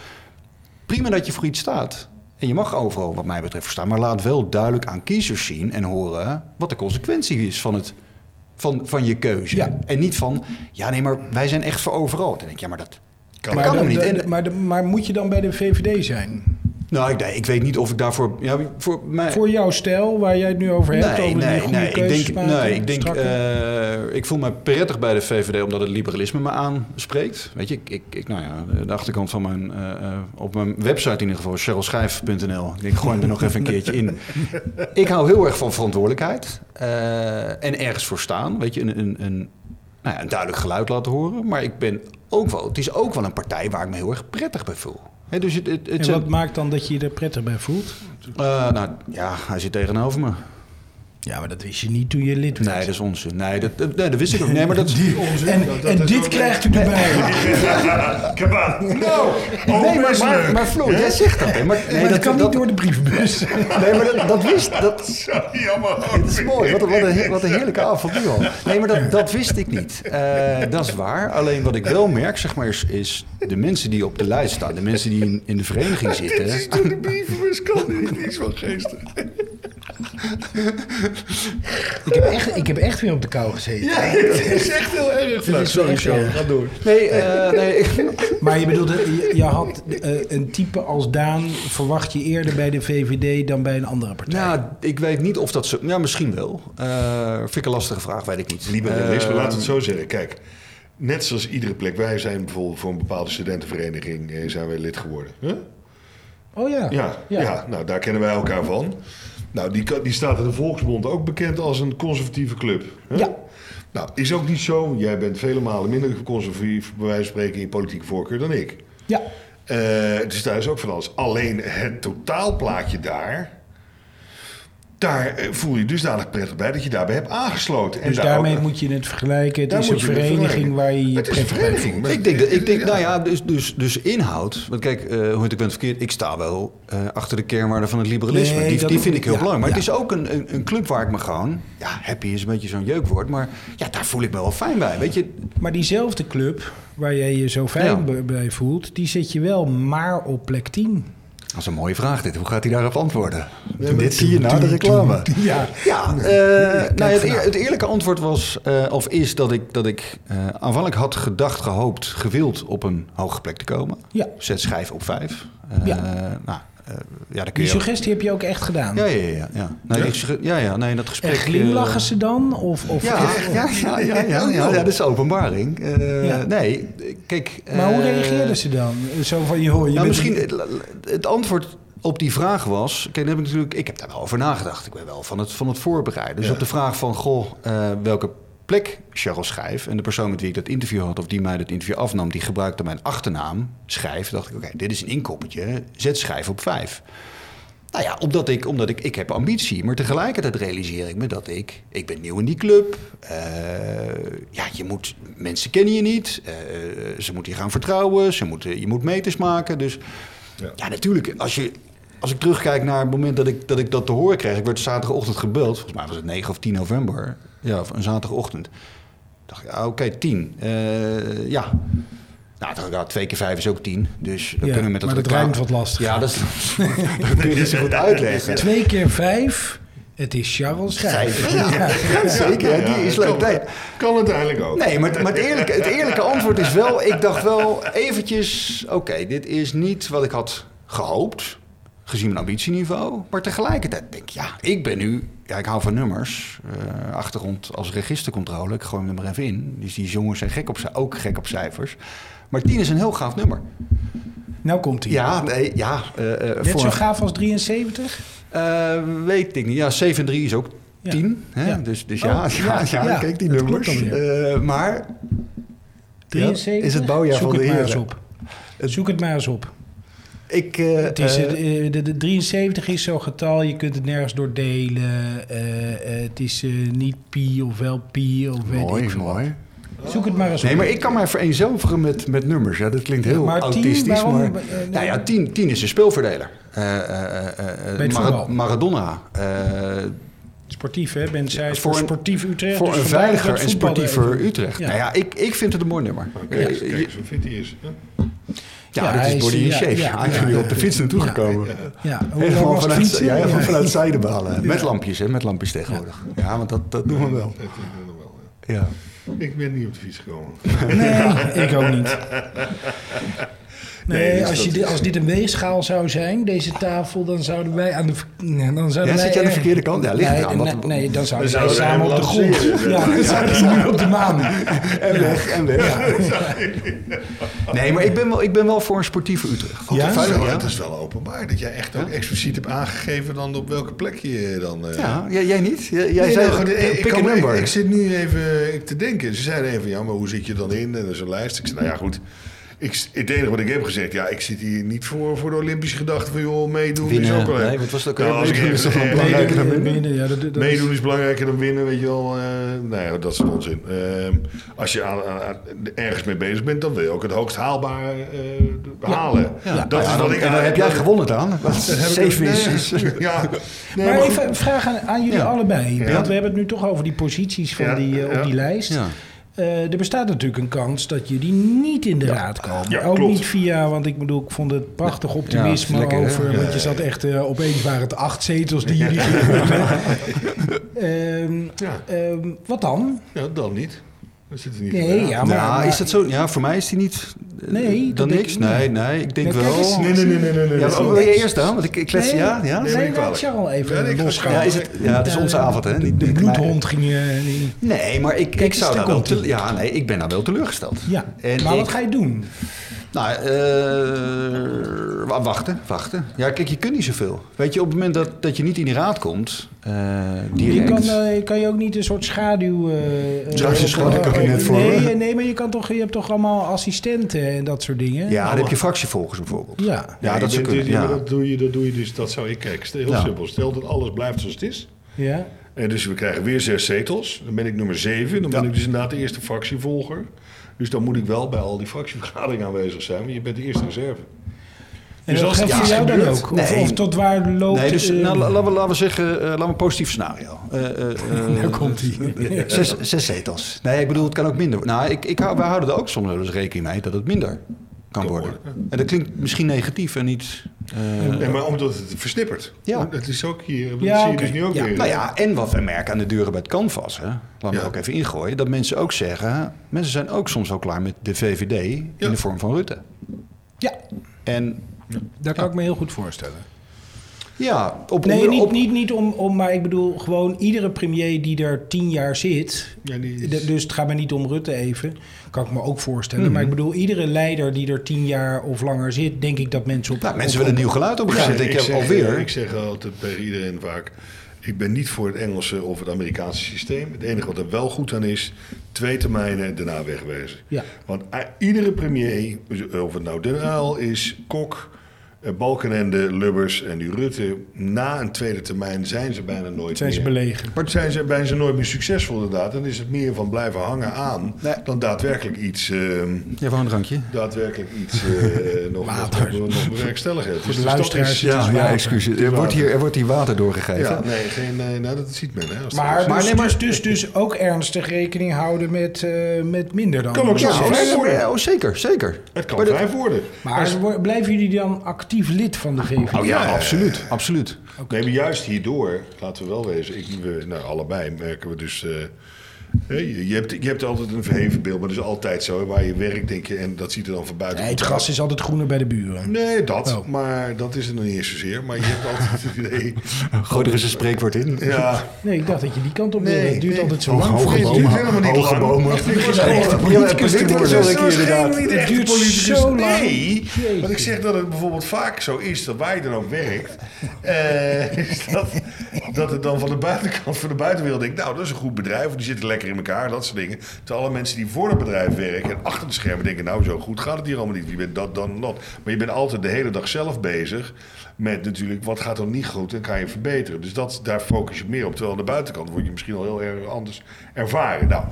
S5: prima dat je voor iets staat. En je mag overal, wat mij betreft, voor staan. Maar laat wel duidelijk aan kiezers zien en horen wat de consequentie is van, het, van, van je keuze.
S1: Ja.
S5: En niet van, ja nee, maar wij zijn echt voor overal. Dan denk ik, ja, maar dat kan, dat
S1: Maar,
S5: kan hem
S1: de-
S5: niet.
S1: de-
S5: En-
S1: de- maar, de- maar moet je dan bij de VVD zijn?
S5: nou, ik, nee, ik weet niet of ik daarvoor... Ja, voor mij,
S1: Voor jouw stijl, waar jij het nu over hebt, over die goede
S5: ik
S1: keuzes
S5: denk,
S1: maken,
S5: nee, ik denk,
S1: strakke-
S5: eh, ik voel me prettig bij de VVD omdat het liberalisme me aanspreekt. Weet je, ik, ik, ik nou ja, de achterkant van mijn, eh, eh, op mijn website in ieder geval, cherylschijf.nl. Ik denk, gooi hem er nog even een keertje in. Ik hou heel erg van verantwoordelijkheid eh, en ergens voor staan. Weet je, een, een, een, nou ja, een duidelijk geluid laten horen. Maar ik ben ook wel, het is ook wel een partij waar ik me heel erg prettig bij voel. Hè, dus het, het, het
S1: en
S5: zijn-
S1: wat maakt dan dat je je er prettig bij voelt?
S5: eh, nou ja, hij zit tegenover me.
S1: Ja, maar dat wist je niet toen je lid werd.
S5: Nee, dat is onzin. Nee, dat, dat- nee, dat wist ik ook. Nee, maar dat is
S1: en en dit krijgt u erbij.
S4: Kebab. Nou,
S5: Nee, maar, maar, maar Floor, jij zegt dat. Hè? Maar, nee,
S1: Maar dat kan niet door de brievenbus.
S5: Nee, maar dat, dat wist... Dat,
S4: Jammer.
S5: dat is mooi. Wat een, wat een, he- wat een heerlijke avond nu al. Nee, maar dat, dat wist ik niet. Eh, dat is waar. Alleen wat ik wel merk, zeg maar, is, is de mensen die op de lijst staan. De mensen die in, in de vereniging
S4: Dit
S5: zitten.
S4: is door de brievenbus kan niet. Niks van geestig.
S1: Ik heb, echt, ik heb echt weer op de kou gezeten.
S4: Het is echt heel erg. Nou,
S1: is wel
S4: sorry,
S1: echt
S4: Sean.
S1: erg.
S4: Ga door.
S5: Nee, eh, nee. ik-
S1: Maar je bedoelde, je, je had eh, een type als Daan verwacht je eerder bij de VVD dan bij een andere partij.
S5: Nou, ik weet niet of dat ze... Ja, misschien wel. Eh, vind ik een lastige vraag, weet ik niet.
S4: Liberalisme,
S5: Eh,
S4: laat het zo zeggen. Kijk, net zoals iedere plek. Wij zijn bijvoorbeeld voor een bepaalde studentenvereniging eh, zijn wij lid geworden. Huh?
S1: oh ja.
S4: Ja, ja. nou daar kennen wij elkaar van. Nou, die, ka- die staat in de Volksbond ook bekend als een conservatieve club. Hè?
S1: Ja.
S4: Nou, is ook niet zo. Jij bent vele malen minder conservatief, bij wijze van spreken, in je politieke voorkeur dan ik.
S1: Ja.
S4: Eh, dus daar is ook van alles. Alleen het totaalplaatje daar. Daar eh, voel je dusdanig prettig bij dat je daarbij hebt aangesloten.
S1: Dus
S4: daar
S1: daarmee
S4: ook-
S1: moet je het vergelijken. Het
S4: daar
S1: is
S4: moet
S1: een
S4: je met
S1: vereniging waar je je
S4: Het is een
S1: prettig bij voelt.
S4: vereniging. maar-
S5: Ik denk, dat, ik denk nou ja, dus, dus, dus inhoud. Want kijk, eh, hoe het ik ben verkeerd, ik sta wel eh, achter de kernwaarden van het liberalisme.
S1: Nee,
S5: die,
S1: dat-
S5: die vind ik heel
S1: ja,
S5: belangrijk. Maar
S1: ja.
S5: het is ook een, een, een club waar ik me gewoon... Ja, happy is een beetje zo'n jeukwoord, maar ja, daar voel ik me wel fijn bij. Weet je,
S1: Maar diezelfde club waar jij je zo fijn
S5: Ja.
S1: be- bij voelt, die zit je wel maar op plek 10.
S5: dat is een mooie vraag dit. Hoe gaat hij daarop antwoorden? dit zie je na de reclame.
S1: Ja.
S5: Ja, eh, nou, het, eer- het eerlijke antwoord was, eh, of is dat ik, dat ik eh, aanvankelijk had gedacht, gehoopt, gewild op een hoge plek te komen.
S1: Ja.
S5: Zet schijf op vijf.
S1: Ja.
S5: ja. Nou, eh, ja, dan kun
S1: Die
S5: je ook-
S1: suggestie heb je ook echt gedaan.
S5: Ja, ja, ja. ja. Nee, ik schri- ja, ja, nee dat gesprek...
S1: En glimlachen
S5: eh,
S1: ze dan? Of, of,
S5: ja,
S1: of-
S5: ja, ja, ja, ja, ja, dat is openbaring. Eh,
S1: Ja.
S5: Nee, kijk...
S1: Maar hoe
S5: eh,
S1: reageerden ze dan? Zo van, joh, je bent
S5: nou, misschien het, het antwoord op die vraag was... Kijk, dan heb ik, natuurlijk, ik heb daar wel over nagedacht. Ik ben wel van het, van het voorbereiden. Dus op de vraag van, goh, eh, welke plek Charles Schijf... en de persoon met wie ik dat interview had... of die mij dat interview afnam, die gebruikte mijn achternaam, Schijf. dacht ik, oké, dit is een inkoppertje. Zet Schijf op vijf. Nou ja, omdat ik, omdat ik, ik heb ambitie, maar tegelijkertijd realiseer ik me dat ik, ik ben nieuw in die club. Eh, ja, je moet, mensen kennen je niet, Eh, ze moeten je gaan vertrouwen, ze moeten, je moet meters maken. Dus ja, natuurlijk, als, je, als ik terugkijk naar het moment dat ik, dat ik dat te horen kreeg, ik werd zaterdagochtend gebeld, volgens mij was het 9 of 10 november, ja, of een zaterdagochtend. dacht ik, ah, oké, 10, Eh, ja. Nou, dacht ik, ah, twee keer vijf is ook tien. Dus dan
S1: Ja,
S5: kunnen we met dat
S1: maar dat
S5: reclame-
S1: ruimt wat lastig.
S5: Ja, dat, is, dat kun je niet zo goed uitleggen.
S1: Twee keer vijf, het is Charles Schijf.
S5: Ja, zeker. hè, die is
S4: Ja,
S5: leuk.
S4: Kan,
S5: Nee,
S4: kan uiteindelijk ook.
S5: nee maar, maar het, eerlijke, het eerlijke antwoord is wel... Ik dacht wel eventjes... Oké, dit is niet wat ik had gehoopt. Gezien mijn ambitieniveau. Maar tegelijkertijd denk ik... Ja, ik ben nu... Ja, ik hou van nummers. eh, achtergrond als registercontrole. Ik gooi hem er maar even in. Dus die jongens zijn gek op, ci- ook gek op cijfers. Maar 10 is een heel gaaf nummer.
S1: Nou komt hij.
S5: Ja, nee, ja. eh, eh,
S1: Net
S5: voor
S1: zo
S5: een-
S1: gaaf als 73?
S5: eh, weet ik niet. Ja, 7 en 3 is ook
S1: Ja.
S5: 10. Hè?
S1: Ja.
S5: Dus, dus
S1: Oh,
S5: ja,
S1: ja,
S5: ja, ja,
S1: ja,
S5: kijk die
S1: dat
S5: nummers.
S1: klopt dan
S5: Eh, maar
S1: 73?
S5: Is het bouwjaar
S1: Zoek
S5: van de
S1: het maar eens
S5: heren.
S1: op. Zoek het maar eens op.
S5: ik... eh,
S1: Het is,
S5: eh,
S1: eh, eh, de, de 73 is zo'n getal, je kunt het nergens door delen. eh, eh, het is eh, niet pi of wel pi of weet ik
S5: mooi,
S1: veel.
S5: mooi.
S1: Zoek het maar eens
S5: Nee,
S1: op.
S5: maar ik kan mij vereenzelvigen met, met nummers. Ja, dat klinkt heel
S1: Maar 10,
S5: autistisch.
S1: waarom-
S5: maar,
S1: eh, nee.
S5: nou ja, 10, 10 is een speelverdeler. Eh, eh, eh, eh,
S1: Bij het
S5: Mara-
S1: voetbal.
S5: Maradona. eh,
S1: Sportief, hè? Ben zij
S5: voor
S1: voor
S5: een-
S1: sportief Utrecht.
S5: voor
S1: dus
S5: een
S1: vandaar dat
S5: veiliger en
S1: voetbal
S5: sportiever
S1: even-
S5: Utrecht.
S1: Ja.
S5: Nou ja, ik, ik vind het een mooi nummer. Eh,
S4: Kijk, eens- kijk
S5: je-
S4: eens hoe fit hij is. hè?
S5: Ja,
S1: Ja,
S5: dat
S1: hij
S5: is
S1: is-
S5: body in
S1: ja,
S5: shape.
S1: ja,
S5: Hij is
S1: ja.
S5: nu op de fiets naartoe
S1: Ja.
S5: gekomen.
S1: Ja, hoe lang
S5: Helemaal
S1: was het
S5: vanuit,
S1: fietsen?
S5: ja, helemaal
S1: Ja.
S5: vanuit zijdeballen. Met lampjes, hè? Met lampjes tegenwoordig. Ja, want dat, dat doen we wel.
S4: Dat vind ik nog wel, ja.
S5: Ja.
S4: Ik ben niet op de fiets gekomen.
S1: Nee, ik ook niet. Nee,
S4: Nee, dus
S1: als, je
S4: dat
S1: dit,
S4: is-
S1: als dit een weegschaal zou zijn, deze tafel, dan zouden wij aan de... ver- nee, Dan zouden
S5: Ja,
S1: wij
S5: zit je aan de
S1: er-
S5: verkeerde kant? Ja, ligt
S1: nee,
S5: eraan,
S1: Nee,
S5: wat-
S1: nee, dan zouden
S4: Dan
S1: wij
S4: zouden wij
S1: samen op de
S4: hem
S1: grond.
S4: lanceren, ja.
S1: Ja, dan zouden we nu op de maan.
S5: En weg, en weg. Nee, maar ik ben wel, ik ben wel voor een sportieve Utrecht.
S1: Ja?
S4: Dat is wel-
S5: ja.
S4: Dat is wel openbaar. Dat jij echt ook expliciet hebt aangegeven dan op welke plek je dan... eh,
S5: Ja, jij, jij niet? Jij, jij
S4: Nee,
S5: zei,
S4: nou, goed, ik- ik
S5: pick a
S4: kan- ik-
S5: number.
S4: Ik, zit nu even eh, te denken. Ze zeiden even, ja, maar hoe zit je dan in? En er is een lijst. Ik zei, nou ja, goed. Ik, het enige wat ik heb gezegd, ja, ik zit hier niet voor, voor de Olympische gedachte van joh, meedoen is
S5: Winnen.
S4: ook wel leuk.
S5: Nee, wat was dat ook
S4: Nou,
S5: weer?
S4: als ik
S5: Meedoen
S4: ergens-
S5: is toch wel
S4: eh,
S5: belangrijk?
S4: meedoen-
S5: Belangrijker dan
S1: winnen. Ja, dat, dat is-
S4: Meedoen is belangrijker dan winnen, weet je wel. eh nou ja, dat is onzin. Ehm, als je aan, aan- aan- ergens mee bezig bent, dan wil je ook het hoogst haalbare eh, halen. Dat is
S5: Ja,
S4: wat
S5: dan-
S4: ik
S5: en daar heb jij
S4: dat-
S5: gewonnen dan. Wat
S4: heb ik-
S5: safe
S4: nee,
S5: is. is-
S4: Ja, nee,
S1: maar
S4: maar goed.
S1: even een vraag aan, aan jullie
S5: Ja.
S1: allebei.
S4: Ja.
S1: Want we hebben het nu toch over die posities van
S4: Ja,
S1: die, eh,
S4: ja.
S1: op die lijst.
S5: Ja.
S1: Eh, er bestaat natuurlijk een kans dat jullie niet in de raad komen.
S4: Ja,
S1: ook
S4: klopt.
S1: niet via, want ik bedoel, ik vond het prachtig optimisme
S5: Ja, lekker, hè?
S1: over. Want je zat echt, eh, opeens waren het acht zetels die jullie gingen. Ehm,
S4: Ja.
S1: ehm, wat dan?
S4: Ja, dan niet. Dan zit er niet in de
S1: Nee,
S4: raad.
S1: ja,
S5: Ja,
S1: maar, maar-
S5: is dat zo? Ja, voor mij is die niet. eh,
S1: Nee, dat
S5: dan
S1: denk
S5: niks.
S1: ik niet.
S5: Nee, nee, ik denk
S1: Nee, kijk eens.
S5: wel.
S4: Nee, nee, nee, nee, nee. nee,
S5: Oh. Ja,
S4: nee.
S5: maar wil je eerst dan? Want ik, ik klets.
S1: Nee.
S5: ja, ja.
S4: Nee,
S1: Nee,
S4: ik wel.
S1: laat Charles even
S4: Ja, ik ga-
S1: losgaan.
S5: Ja, is het, ja, het is onze avond, hè? Niet,
S1: De
S5: niet mijn-
S1: bloedhond ging eh, je... die-
S5: Nee, maar ik, ik
S1: eens,
S5: zou
S1: daar
S5: daar wel
S1: komt-ie.
S5: tele- ja, nee, ik ben daar wel teleurgesteld.
S1: Ja,
S5: En
S1: maar wat
S5: ik-
S1: ga je doen?
S5: Nou, eh, wa- wachten, wachten. Ja, kijk, je kunt niet zoveel. Weet je, op het moment dat, dat je niet in die raad komt, eh,
S1: Je
S5: direct.
S1: kan, eh, kan je ook niet een soort schaduw... eh, eh,
S5: Zou je
S1: op-
S5: schaduwkabinet
S1: op-
S5: vormen?
S1: nee, eh, nee, maar je, kan toch, je hebt toch allemaal assistenten en dat soort dingen?
S5: ja, dan heb je fractievolgers bijvoorbeeld.
S1: Nou. Ja,
S5: Ja, dat
S4: je
S5: zou
S4: bent-
S5: kunnen.
S4: ja, maar
S5: Ja.
S4: Dat, doe je, dat doe je dus, dat zou ik kijken. Heel
S5: Ja.
S4: simpel. Stel dat alles blijft zoals het is.
S1: ja.
S4: En dus we krijgen weer zes zetels. Dan ben ik nummer zeven. Dan ben ik dus inderdaad de eerste fractievolger. Dus dan moet ik wel bij al die fractievergaderingen aanwezig zijn. Want je bent de eerste reserve.
S1: En
S4: Dus
S1: dat
S4: als
S1: geldt
S4: het
S1: voor
S4: ja,
S1: jou dan
S4: gebeurt-
S1: ook? Of,
S5: Nee.
S1: of tot waar loopt...
S5: Nee, dus
S1: eh,
S5: nou, la- laten we- laten we zeggen, eh, laten we een positief scenario.
S1: Nou,
S5: Daar komt hij. Zes, zes zetels. Nee, ik bedoel, het kan ook minder. Nou, ik, ik, hou- wij houden er ook soms wel eens rekening mee dat het minder kan worden. En dat klinkt misschien negatief en niet... eh,
S4: Nee, maar omdat het versnippert.
S5: Ja.
S4: Dat is ook hier. Dat
S1: Ja,
S4: zie je
S1: oké.
S4: dus nu ook
S1: Ja.
S4: weer.
S5: Nou ja, en wat we merken aan de deuren bij het Canvas, hè, laat me
S4: Ja.
S5: ook even ingooien, dat mensen ook zeggen, mensen zijn ook soms al klaar met de VVD
S4: Ja.
S5: in de vorm van Rutte.
S1: Ja,
S5: En
S1: daar kan ik me heel goed voorstellen.
S5: ja, op
S1: Nee, niet,
S5: op-
S1: niet, niet om, om... Maar ik bedoel, gewoon iedere premier die er tien jaar zit...
S4: Ja, die is-
S1: D- Dus het gaat mij niet om Rutte even. Kan ik me ook voorstellen.
S5: Mhm.
S1: Maar ik bedoel, iedere leider die er tien jaar of langer zit, denk ik dat mensen op.
S5: Nou, mensen
S1: op-
S5: willen een nieuw geluid op een
S4: Ja,
S5: gegeven moment.
S4: ik,
S5: denk je
S4: zeg, eh,
S5: alweer.
S4: ik zeg altijd tegen iedereen vaak... ik ben niet voor het Engelse of het Amerikaanse systeem. Het enige wat er wel goed aan is... twee termijnen en daarna wegwezen.
S1: Ja.
S4: Want i- iedere premier, of het nou Den Uyl is, Kok... eh, Balkenende, Lubbers en nu Rutte... na een tweede termijn zijn ze bijna nooit
S1: Zijn ze
S4: meer...
S1: belegen.
S4: Maar zijn ze bijna nooit meer succesvol inderdaad. Dan is het meer van blijven hangen aan...
S5: Nee.
S4: dan daadwerkelijk iets... ehm,
S5: Ja, voor een drankje.
S4: daadwerkelijk iets eh nog, nog,
S1: Water.
S4: nog bewerkstelligen. Dus
S1: de
S4: dat is-
S1: luisteraars, het is
S5: Ja, ja,
S1: water.
S5: excuus. Er wordt, hier, er wordt hier water doorgegeven.
S4: Ja, nee, geen, eh, nou, dat ziet men. Hè, als
S1: Maar,
S4: dat
S1: dus,
S5: Maar nee, maar-
S1: Dus, dus, dus ook ernstig rekening houden met, eh, met minder dan.
S4: Kan ook zo.
S5: Ja,
S4: Vijf
S5: nee,
S4: woorden.
S5: maar- oh, zeker, zeker.
S4: is. het kan
S5: Maar dat-
S4: vijf worden.
S1: Maar ze wo- blijven jullie dan actief lid van de VVD?
S5: Oh ja,
S4: Ja.
S5: absoluut, absoluut.
S4: Nee, maar juist hierdoor, laten we wel wezen, ik, we, nou, allebei merken we dus... eh, hè, je, je hebt, je hebt altijd een verheven beeld, maar dat is altijd zo. hè, Waar je werkt, denk je, en dat ziet er dan van buiten.
S1: Nee, het gras is altijd groener bij de buren.
S4: Nee, dat.
S1: Oh.
S4: Maar dat is er nog niet eens zozeer. Maar je hebt altijd het idee...
S5: Gooi er eens een spreekwoord in.
S4: Ja,
S1: Nee, ik dacht dat je die kant op
S4: Nee,
S1: wilde. het duurt
S4: nee.
S1: altijd zo lang.
S4: Nee, het duurt helemaal niet
S5: Hoge
S4: lang.
S5: bomen.
S4: Het duurt gewoon-
S5: Ja, maar politicus
S4: Dat
S5: wil
S4: is
S5: ik
S4: geen-
S5: hier inderdaad.
S1: Het
S4: niet echt
S1: duurt
S4: politicus.
S1: zo lang.
S4: Nee,
S1: Jeetje.
S4: want ik zeg dat het bijvoorbeeld vaak zo is dat waar je dan ook werkt, eh, is dat, dat het dan van de buitenkant, van de buitenwereld denkt, nou dat is een goed bedrijf, die zitten lekker in elkaar, dat soort dingen. Terwijl alle mensen die voor het bedrijf werken en achter de schermen denken, nou zo goed gaat het hier allemaal niet, je bent dat, dan, dat. Maar je bent altijd de hele dag zelf bezig met natuurlijk wat gaat er niet goed en kan je verbeteren. Dus dat, daar focus je meer op, terwijl aan de buitenkant word je misschien al heel erg anders ervaren. Nou,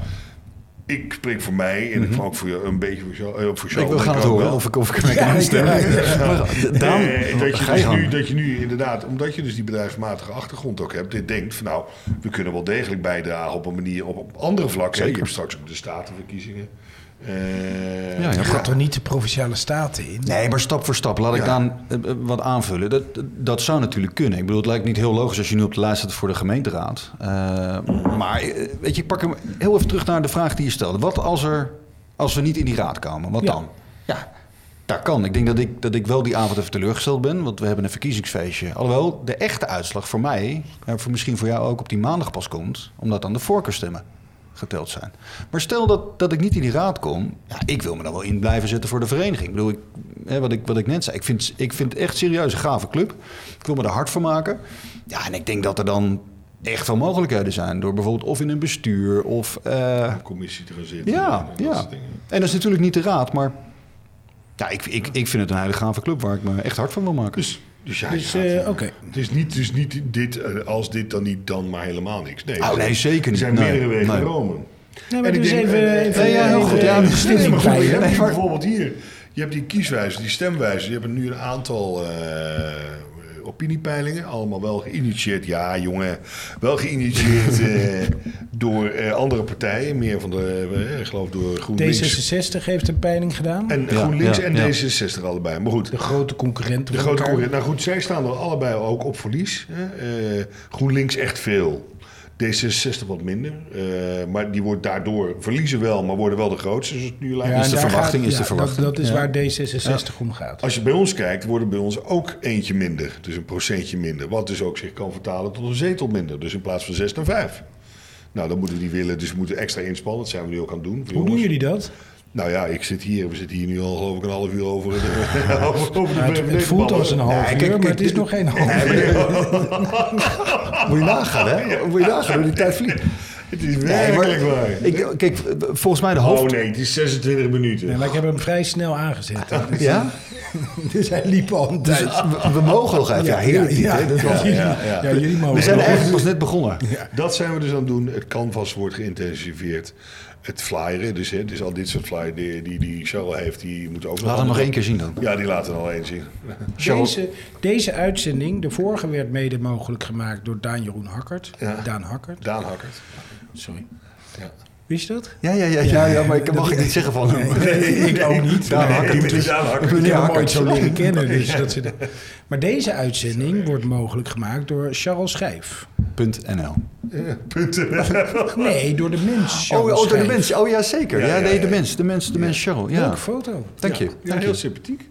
S4: ik spreek voor mij en ik ook voor jou, een beetje voor jou. eh, voor jou
S5: Mhm. Ik wil gaan
S4: denk
S5: het
S4: ook
S5: horen
S4: wel.
S5: of ik, of ik me kan aanstellen. Maar Daan,
S4: Eh, dat, je
S5: ga je
S4: dus
S5: gang.
S4: nu, dat je nu inderdaad, omdat je dus die bedrijfsmatige achtergrond ook hebt, dit denkt van nou, we kunnen wel degelijk bijdragen op een manier, op, op andere vlakken. hè. Je hebt straks ook de statenverkiezingen. Eh,
S5: Ja, ja.
S1: Je gaat er niet de provinciale staten in.
S5: Nee, maar stap voor stap. Laat ik
S4: Ja.
S5: dan eh, eh, wat aanvullen. Dat, dat zou natuurlijk kunnen. Ik bedoel, het lijkt niet heel logisch als je nu op de lijst staat voor de gemeenteraad. Eh, maar eh, weet je, ik pak hem heel even terug naar de vraag die je stelde. Wat als, er, als we niet in die raad komen? Wat
S1: Ja.
S5: dan? Ja, daar kan. Ik denk dat ik, dat ik wel die avond even teleurgesteld ben. Want we hebben een verkiezingsfeestje. Alhoewel, de echte uitslag voor mij, en voor misschien voor jou ook op die maandag pas komt. Omdat dan de voorkeurstemmen geteld zijn. Maar stel dat, dat ik niet in die raad kom. Ja, ik wil me dan wel in blijven zetten voor de vereniging. Ik bedoel, ik, hè, wat, ik, wat ik net zei. Ik vind, ik vind het echt serieus een gave club. Ik wil me er hard voor maken. Ja, en ik denk dat er dan echt wel mogelijkheden zijn. Door bijvoorbeeld of in een bestuur of... eh,
S4: Een commissie te gaan zitten.
S5: ja,
S4: en dat
S5: ja.
S4: soort dingen.
S5: En dat is natuurlijk niet de raad, maar Ja, ik, ik, ik vind het een hele gave club waar ik me echt hard van wil maken.
S4: Dus, dus ja,
S1: Dus,
S4: je gaat,
S1: eh,
S4: eh,
S1: oké.
S4: het is niet, dus niet dit, eh, als dit dan niet, dan maar helemaal niks. Nee,
S5: Oh, nee, zeker
S4: Er
S5: niet.
S4: zijn
S5: Nee,
S4: meerdere wegen
S5: nee.
S4: naar Rome.
S1: Nee, maar
S4: ik
S1: dus
S4: denk,
S1: even...
S4: eh,
S1: even
S5: nee, ja, heel
S1: even-
S5: goed. Ja, dat is
S1: even-
S5: niet
S4: Nee,
S5: maar
S4: maar
S5: goed,
S4: goed, je hebt
S5: nee,
S4: hier
S5: maar-
S4: bijvoorbeeld hier, je hebt die kieswijze, die stemwijze. Je hebt nu een aantal eh, opiniepeilingen, allemaal wel geïnitieerd. Ja, jongen, wel geïnitieerd eh, door eh, andere partijen. Meer van de, eh, ik geloof door GroenLinks.
S1: D66 heeft een peiling gedaan.
S4: En
S5: Ja,
S4: GroenLinks
S5: ja,
S4: en
S5: ja.
S4: D66 allebei. Maar goed,
S1: de grote concurrent.
S4: de
S1: van
S4: grote
S1: elkaar.
S4: concurrent. Nou goed, zij staan er allebei ook op verlies. Hè? Eh, GroenLinks echt veel. D66 wat minder. Eh, maar die wordt daardoor verliezen wel, maar worden wel de grootste. Dus het nu lijkt
S1: Ja,
S5: Is
S1: en
S5: de
S1: daar
S5: verwachting, is de
S1: dat-
S5: verwachting.
S1: Dat, is
S5: Ja.
S1: waar D66 om gaat.
S4: Als je bij ons kijkt, worden bij ons ook eentje minder. Dus een procentje minder. Wat dus ook zich kan vertalen tot een zetel minder. Dus in plaats van zes naar vijf. Nou, dat moeten we niet willen. Dus we moeten extra inspannen. Dat zijn we nu ook aan het doen.
S1: Hoe
S4: Jongens.
S1: doen jullie dat?
S4: Nou ja, ik zit hier. We zitten hier nu al geloof ik een half uur over de, over, over de
S1: Nou, het, het voelt
S4: ballen.
S1: als een half
S5: kijk,
S1: uur, maar
S5: kijk,
S1: het is
S5: dit-
S1: nog geen half uur.
S5: Moet je nagaan, hè? Moet je nagaan hoe die tijd vliegt.
S4: Het is werkelijk waar.
S5: Ik, kijk, volgens mij de hoofd...
S4: Oh nee, het is 26 minuten.
S1: Nee, maar ik heb hem vrij snel aangezet.
S5: Ja?
S1: Dus hij liep al een
S5: Dus
S1: tijd.
S5: we, we mogen nog even. Ja, heerlijk dit, hè? Dat is wel-
S4: ja, ja.
S1: Ja, jullie mogen.
S5: We zijn eigenlijk pas net begonnen.
S4: Dat zijn we dus aan het doen. Het canvas wordt geïntensiveerd. Het flyeren, dus, hè, dus al dit soort flyer die, die, die Charles heeft, die moeten ook
S5: Laat hem nog één keer zien dan.
S4: Ja, die laten we al één zien.
S1: Deze, deze uitzending, de vorige, werd mede mogelijk gemaakt door Daan Jeroen Hakkert.
S4: Ja.
S1: Daan Hakkert,
S4: Daan Hakkert.
S1: sorry.
S4: Ja.
S1: Wist je dat?
S5: Ja, ja, ja, ja, ja maar ik mag ik niet zeggen van hem.
S1: ik ook niet.
S5: Daan Hakkert.
S4: Nee, die Daan Hakkert.
S1: Ik
S5: Meneer
S1: heb hem
S5: Hakkert.
S1: ooit zo leren kennen. Dus dat ze de- Maar deze uitzending wordt mogelijk gemaakt door Charles Schijf.
S5: Punt NL.
S1: Nee, door de mens.
S5: Oh,
S1: Charles
S5: oh, door de
S1: Schijf.
S5: mens. Oh ja, zeker. Ja,
S4: ja,
S5: nee, de
S4: ja.
S5: mens. De mens, de mens Charles. Ja,
S1: Leuke foto.
S5: dank je.
S4: Ja, heel sympathiek.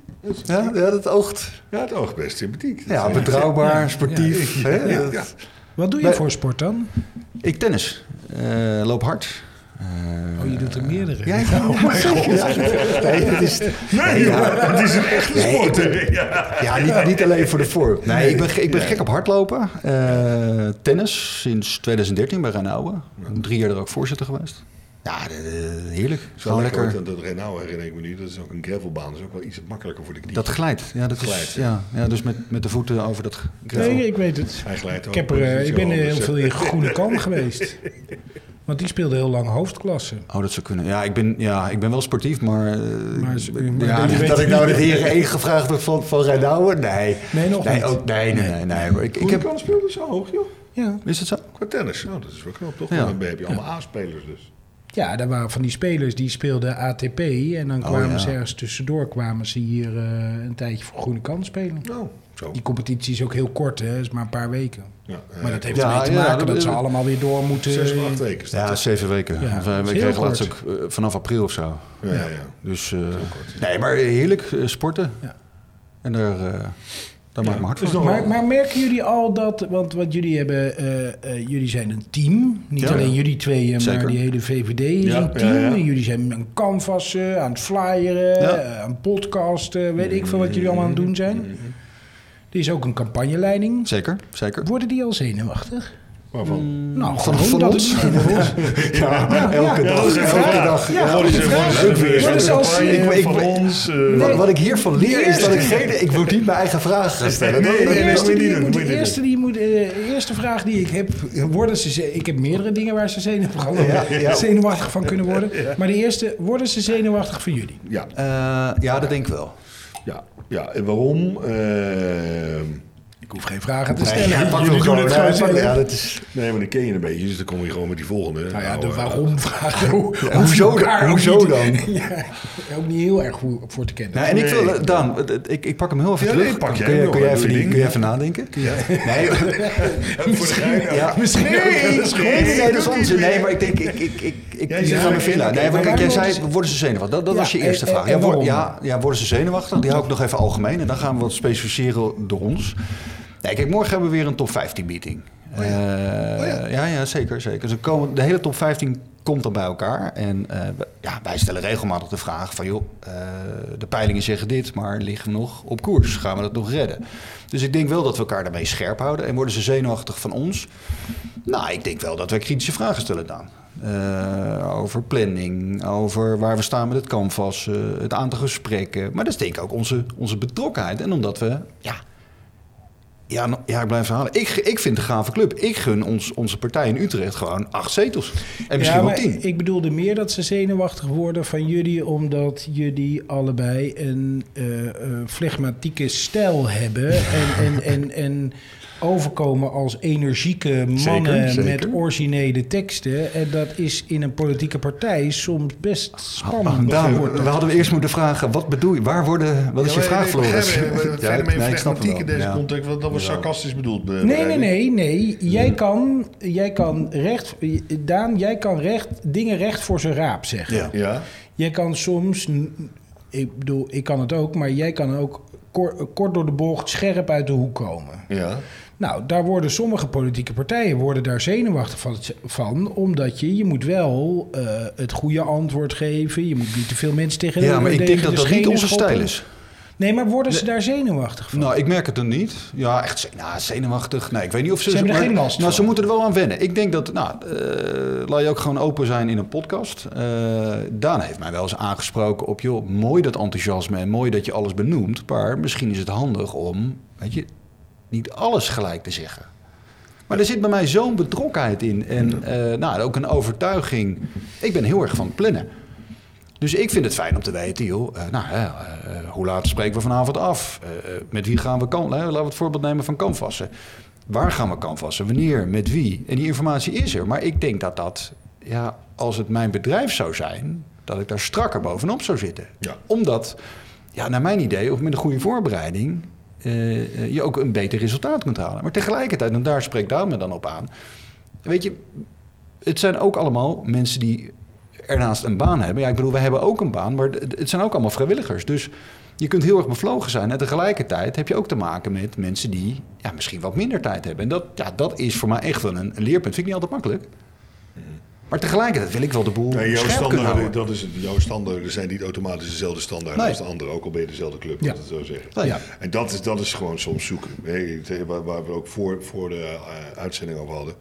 S5: Ja, ja, dat oogt.
S4: Ja, het oog best sympathiek.
S5: Ja, betrouwbaar, sportief. hè?
S4: Ja,
S5: Dat-
S4: ja.
S1: Wat doe je
S5: Nee.
S1: voor sport dan?
S5: Ik tennis. Eh, loop hard. Eh,
S1: Oh, je doet er meerdere.
S5: Ja, ja, ja, zeker. Ja, nee, dat is,
S4: Nee, joh, het is een echte
S5: Nee,
S4: sport.
S5: ik
S4: hè. Ja.
S5: ja niet, niet alleen voor de vorm. Nee, ik ben, ge- ik ben gek op hardlopen. Eh, tennis sinds 2013 bij Renauwe. Drie jaar er ook voorzitter geweest. Ja, eh, heerlijk. Gewoon lekker.
S4: Dat, dat Renau herinner ik me nu. Dat is ook een gravelbaan. Dat is ook wel iets makkelijker voor de knie.
S5: Dat glijdt. Ja, dat
S4: Glijdt,
S5: is, ja. ja, dus met, met de voeten over dat gravel.
S1: Nee, ik weet het.
S4: Hij glijdt ook.
S1: Ik, heb er, eh,
S4: Dat is
S1: ik ben eh,
S4: wel
S1: heel
S4: anders,
S1: veel in Groene Kam geweest. Want die speelde heel lang hoofdklasse.
S5: Oh, dat zou kunnen. Ja, ik ben, ja, ik ben wel sportief, maar... eh,
S1: Maar ze-
S5: ik-
S1: maar
S5: ja,
S1: je weet
S5: dat ik
S1: het
S5: nou
S1: niet.
S5: dit heren 1 gevraagd heb van, van Renauwe? Nee.
S1: Nee, nog niet.
S5: Ook, nee, nee, nee. nee, maar ik, ik
S4: Hoe
S5: heb,
S4: kan speelde zo hoog, joh?
S1: Ja.
S5: is het zo?
S4: Qua tennis. Nou, dat is wel knap, toch?
S5: Ja.
S4: Dan heb je allemaal A-spelers dus.
S1: ja, daar waren van die spelers die speelden ATP. En
S4: Oh,
S1: dan kwamen
S5: ja.
S1: ze ergens tussendoor kwamen ze hier eh, een tijdje voor Groene Kam spelen.
S4: Nou, zo.
S1: Die competitie is ook heel kort, hè? is maar een paar weken.
S4: Ja, eh,
S1: Maar dat heeft
S5: Ja,
S1: ermee te
S5: ja,
S1: maken
S5: dat-
S1: dat, ze
S5: dat-
S1: allemaal weer door moeten.
S4: zes
S5: eh,
S4: of acht weken. staat
S5: Ja,
S4: het.
S5: zeven weken.
S1: Ja,
S5: Of, eh,
S1: dat is
S5: we
S1: heel
S5: kregen
S1: kort.
S5: laatst ook eh, vanaf april of zo.
S4: ja, ja. ja.
S5: Dus, eh, nee, maar heerlijk eh, sporten.
S1: Ja.
S5: En daar, eh, daar maak ik me hard van.
S1: Maar, maar merken jullie al dat, want, want jullie, hebben, eh, eh, jullie zijn een team. Niet
S5: Ja.
S1: alleen jullie tweeën,
S5: Zeker.
S1: maar die hele VVD is
S4: Ja,
S1: een team.
S4: ja, ja.
S1: En Jullie zijn aan het canvassen, aan het flyeren,
S5: Ja. Mm.
S1: eh, aan het podcasten. Weet ik veel wat jullie allemaal aan het doen zijn. Er is ook een campagneleiding.
S5: Zeker, zeker.
S1: Worden die al zenuwachtig?
S4: Waarvan?
S1: Nou,
S5: van-
S1: gewoon
S5: van
S1: dat
S5: ons?
S1: het-
S5: Ja, elke
S4: Ja,
S5: dag.
S4: dat is een
S5: elke
S4: vraag.
S5: dag.
S1: Ja,
S5: Ja.
S1: dat is
S4: een
S1: een vraag.
S4: leuk weer.
S1: Worden ze als-
S4: Campagne
S5: ik- ik-
S4: van
S5: ik-
S4: ons. eh,
S5: Wat, wat ik hiervan leer is dat ik
S1: Eerste-
S5: geen... Ik moet niet mijn eigen vragen gaan stellen.
S4: Nee, nee,
S1: De
S4: nee, nee,
S1: eerste
S4: moet je
S1: die
S4: niet
S1: je
S4: doen,
S1: moet-
S4: moet je
S1: de
S4: niet
S1: eerste die je moet, eh, de eerste vraag die ik heb, eh, worden ze, ze- ik heb meerdere dingen waar ze zenuwachtig,
S5: Ja, ja.
S1: zenuwachtig van kunnen worden. Maar de eerste, worden ze zenuwachtig van jullie?
S4: Ja,
S5: Eh, ja, dat denk ik wel.
S4: ja, ja. En waarom? Eh,
S1: Ik hoef geen vragen te
S5: Nee,
S1: stellen.
S5: hij pakt hem
S1: jullie doen
S5: gewoon.
S1: het
S5: Nee,
S1: gewoon
S5: hij pakt-
S1: zelf.
S5: ja, dat is...
S4: nee, maar dan ken je een beetje, dus dan kom je gewoon met die volgende.
S1: Nou ja,
S4: Nou,
S1: de
S4: eh,
S1: waarom vraag. Hoe, hoef je
S5: hoezo
S1: elkaar
S5: dan?
S1: ook
S5: Hoezo
S1: niet-
S5: dan?
S1: Ja, ook niet heel erg goed voor te kennen.
S5: Nou, en ik wil, Daan, ik, ik pak hem heel even
S4: Ja,
S5: terug.
S4: nee, pak jij
S5: kun, je,
S4: hem
S5: kun,
S4: nog
S5: jij
S4: even,
S5: even, die-
S4: ding.
S5: kun jij even nadenken? Nee,
S4: Voor de gein, eh. ja.
S5: ja.
S1: Misschien ook wel
S5: nee,
S1: eens
S5: nee, nee, dat is onzin. Nee, maar ik denk, ik, ik, ik, ik
S4: Ja,
S5: ik
S4: ja,
S5: zit aan mijn
S4: ja,
S5: villa.
S4: ja,
S5: Nee, maar
S1: ja,
S5: kijk, jij
S1: waarom
S5: zei,
S1: ze-
S5: worden ze zenuwachtig? Dat, dat
S1: Ja,
S5: was je eerste
S1: en-
S5: vraag.
S1: en
S5: Ja, wor-
S1: waarom?
S5: ja, ja, worden ze zenuwachtig? Die hou ik nog even algemeen. En dan gaan we wat specificeren door ons. Nee, kijk, morgen hebben we weer een top 15 meeting. Eh, ja. ja, zeker, zeker. Dus er komen, de hele top 15 komt dan bij elkaar. En eh, we- ja, wij stellen regelmatig de vraag van... joh, eh, de peilingen zeggen dit, maar liggen we nog op koers? Gaan we dat nog redden? Dus ik denk wel dat we elkaar daarmee scherp houden. En worden ze zenuwachtig van ons? Nou, ik denk wel dat wij kritische vragen stellen, Daan. eh, over planning, over waar we staan met het canvas, eh, het aantal gesprekken. Maar dat is denk ik ook onze, onze betrokkenheid. En omdat we, ja, ja, nou, ja ik blijf het halen. Ik, ik vind het een gave club. Ik gun ons, onze partij in Utrecht gewoon acht zetels. En misschien
S1: ja,
S5: wel
S1: maar
S5: tien.
S1: Ik bedoelde meer dat ze zenuwachtig worden van jullie, omdat jullie allebei een eh, eh, flegmatieke stijl hebben. En, en, en, en overkomen als energieke mannen
S6: zeker.
S1: met originele teksten. En dat is in een politieke partij soms best
S5: Ah,
S1: spannend.
S5: Daan,
S1: wordt
S5: we
S1: dat.
S5: hadden we eerst moeten vragen, wat bedoel je? Waar worden, wat is je vraag, Floris?
S4: Het
S5: Ja,
S4: fenomeen
S5: nee, ik snap hem
S4: flegmatiek in
S5: wel.
S4: deze
S5: Ja.
S4: context, want dat was sarcastisch bedoeld. eh,
S1: Nee, nee,
S4: begrijp ik.
S1: nee, nee. Jij kan, jij kan recht, Daan, jij kan recht, dingen recht voor zijn raap zeggen.
S5: Ja.
S4: Ja,
S1: Jij kan soms, n- ik bedoel, ik kan het ook, maar jij kan ook kort, kort door de bocht scherp uit de hoek komen.
S4: ja.
S1: Nou, daar worden sommige politieke partijen worden daar zenuwachtig van, van omdat je, je moet wel eh, het goede antwoord geven. Je moet niet te veel mensen tegen
S5: Ja, maar ik
S1: tegen
S5: denk
S1: de
S5: dat dat niet
S1: schenen
S5: onze
S1: schoppen.
S5: stijl is.
S1: Nee, maar worden ze daar zenuwachtig van?
S5: Nou, ik merk het dan niet. Ja, echt zen- nou, zenuwachtig. Nee, ik weet niet of ze...
S1: Ze hebben er
S5: maar-
S1: geen last
S5: Nou,
S1: van.
S5: ze moeten er wel aan wennen. Ik denk dat... Nou, eh, laat je ook gewoon open zijn in een podcast. Eh, Daan heeft mij wel eens aangesproken op... joh, mooi dat enthousiasme en mooi dat je alles benoemt... maar misschien is het handig om, weet je... niet alles gelijk te zeggen. Maar er zit bij mij zo'n betrokkenheid in. En eh, nou, ook een overtuiging. Ik ben heel erg van het plannen. Dus ik vind het fijn om te weten, joh, eh, nou, hè, eh, hoe laat spreken we vanavond af? Eh, eh, met wie gaan we kan? hè, Laten we het voorbeeld nemen van canvassen. Waar gaan we canvassen? Wanneer? Met wie? En die informatie is er. Maar ik denk dat dat, ja, als het mijn bedrijf zou zijn, dat ik daar strakker bovenop zou zitten.
S4: Ja.
S5: Omdat, ja, naar mijn idee, of met een goede voorbereiding, eh, eh, je ook een beter resultaat kunt halen. Maar tegelijkertijd, en daar spreekt Daan me dan op aan, weet je, het zijn ook allemaal mensen die ernaast een baan hebben. Ja, ik bedoel, we hebben ook een baan, maar het het zijn ook allemaal vrijwilligers. Dus je kunt heel erg bevlogen zijn. En tegelijkertijd heb je ook te maken met mensen die ja, misschien wat minder tijd hebben. En dat, ja, dat is voor mij echt wel een, een leerpunt. Vind ik niet altijd makkelijk. Maar tegelijkertijd wil ik wel de boel
S4: Mm-hmm. Nee, jouw
S5: scherp kunnen
S4: standaarden,
S5: houden.
S4: dat is het, jouw standaarden zijn niet automatisch dezelfde standaarden
S5: Nee.
S4: als de andere, ook al ben je dezelfde club,
S1: Ja.
S4: laat het zo zeggen.
S5: Nou ja.
S4: En dat is, dat is gewoon soms zoeken. Hè, het, eh, Waar, waar we ook voor, voor de eh, uitzending over hadden.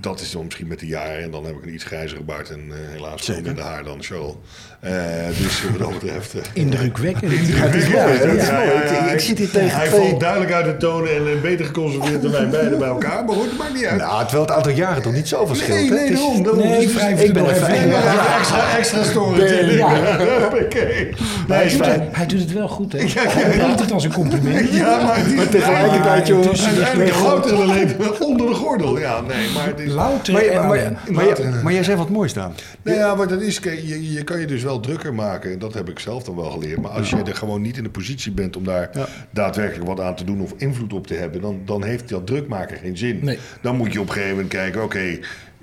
S4: Dat is dan misschien met de jaren. En dan heb ik een iets grijzere baard. En eh, helaas veel minder haar dan Charles. Eh, dus wat dat betreft... eh,
S1: Indrukwekkend.
S4: ja, ja,
S5: is
S4: ja,
S5: mooi.
S4: ja,
S5: Ik-
S4: ja,
S5: ik
S4: hij-
S5: zit hier tegen
S4: Hij
S5: twee-
S4: valt duidelijk uit de toon en eh, beter geconserveerd dan wij beiden bij elkaar. Maar goed, dat maakt niet uit.
S5: Nou, terwijl het aantal jaren toch niet zoveel verschilt. hè? Het is-
S4: daarom, daarom.
S1: Nee,
S4: Dus-
S1: wrijf
S5: het er nog even in.
S4: ja, extra, extra storytelling. Hoppakee.
S1: Hij,
S4: Nee,
S1: doet
S4: fijn.
S1: het, hij doet het wel goed, hè? Hij doet het als een compliment.
S4: Ja, maar, het is-
S5: tegelijkertijd, joh.
S4: Ja, maar Uiteindelijk houdt er alleen onder de gordel. Ja, nee, maar het is...
S1: Louter
S5: Maar,
S1: en
S5: maar, maar,
S1: ellende.
S5: maar jij- maar jij zei wat moois, Daan.
S4: Nou ja, wat dat is, kijk, je, je kan je dus wel drukker maken. En dat heb ik zelf dan wel geleerd. Maar als je er gewoon niet in de positie bent om daar daadwerkelijk wat aan te doen of invloed op te hebben, dan, dan heeft dat drukmaken geen zin.
S1: Nee.
S4: Dan moet je op een gegeven moment kijken, oké,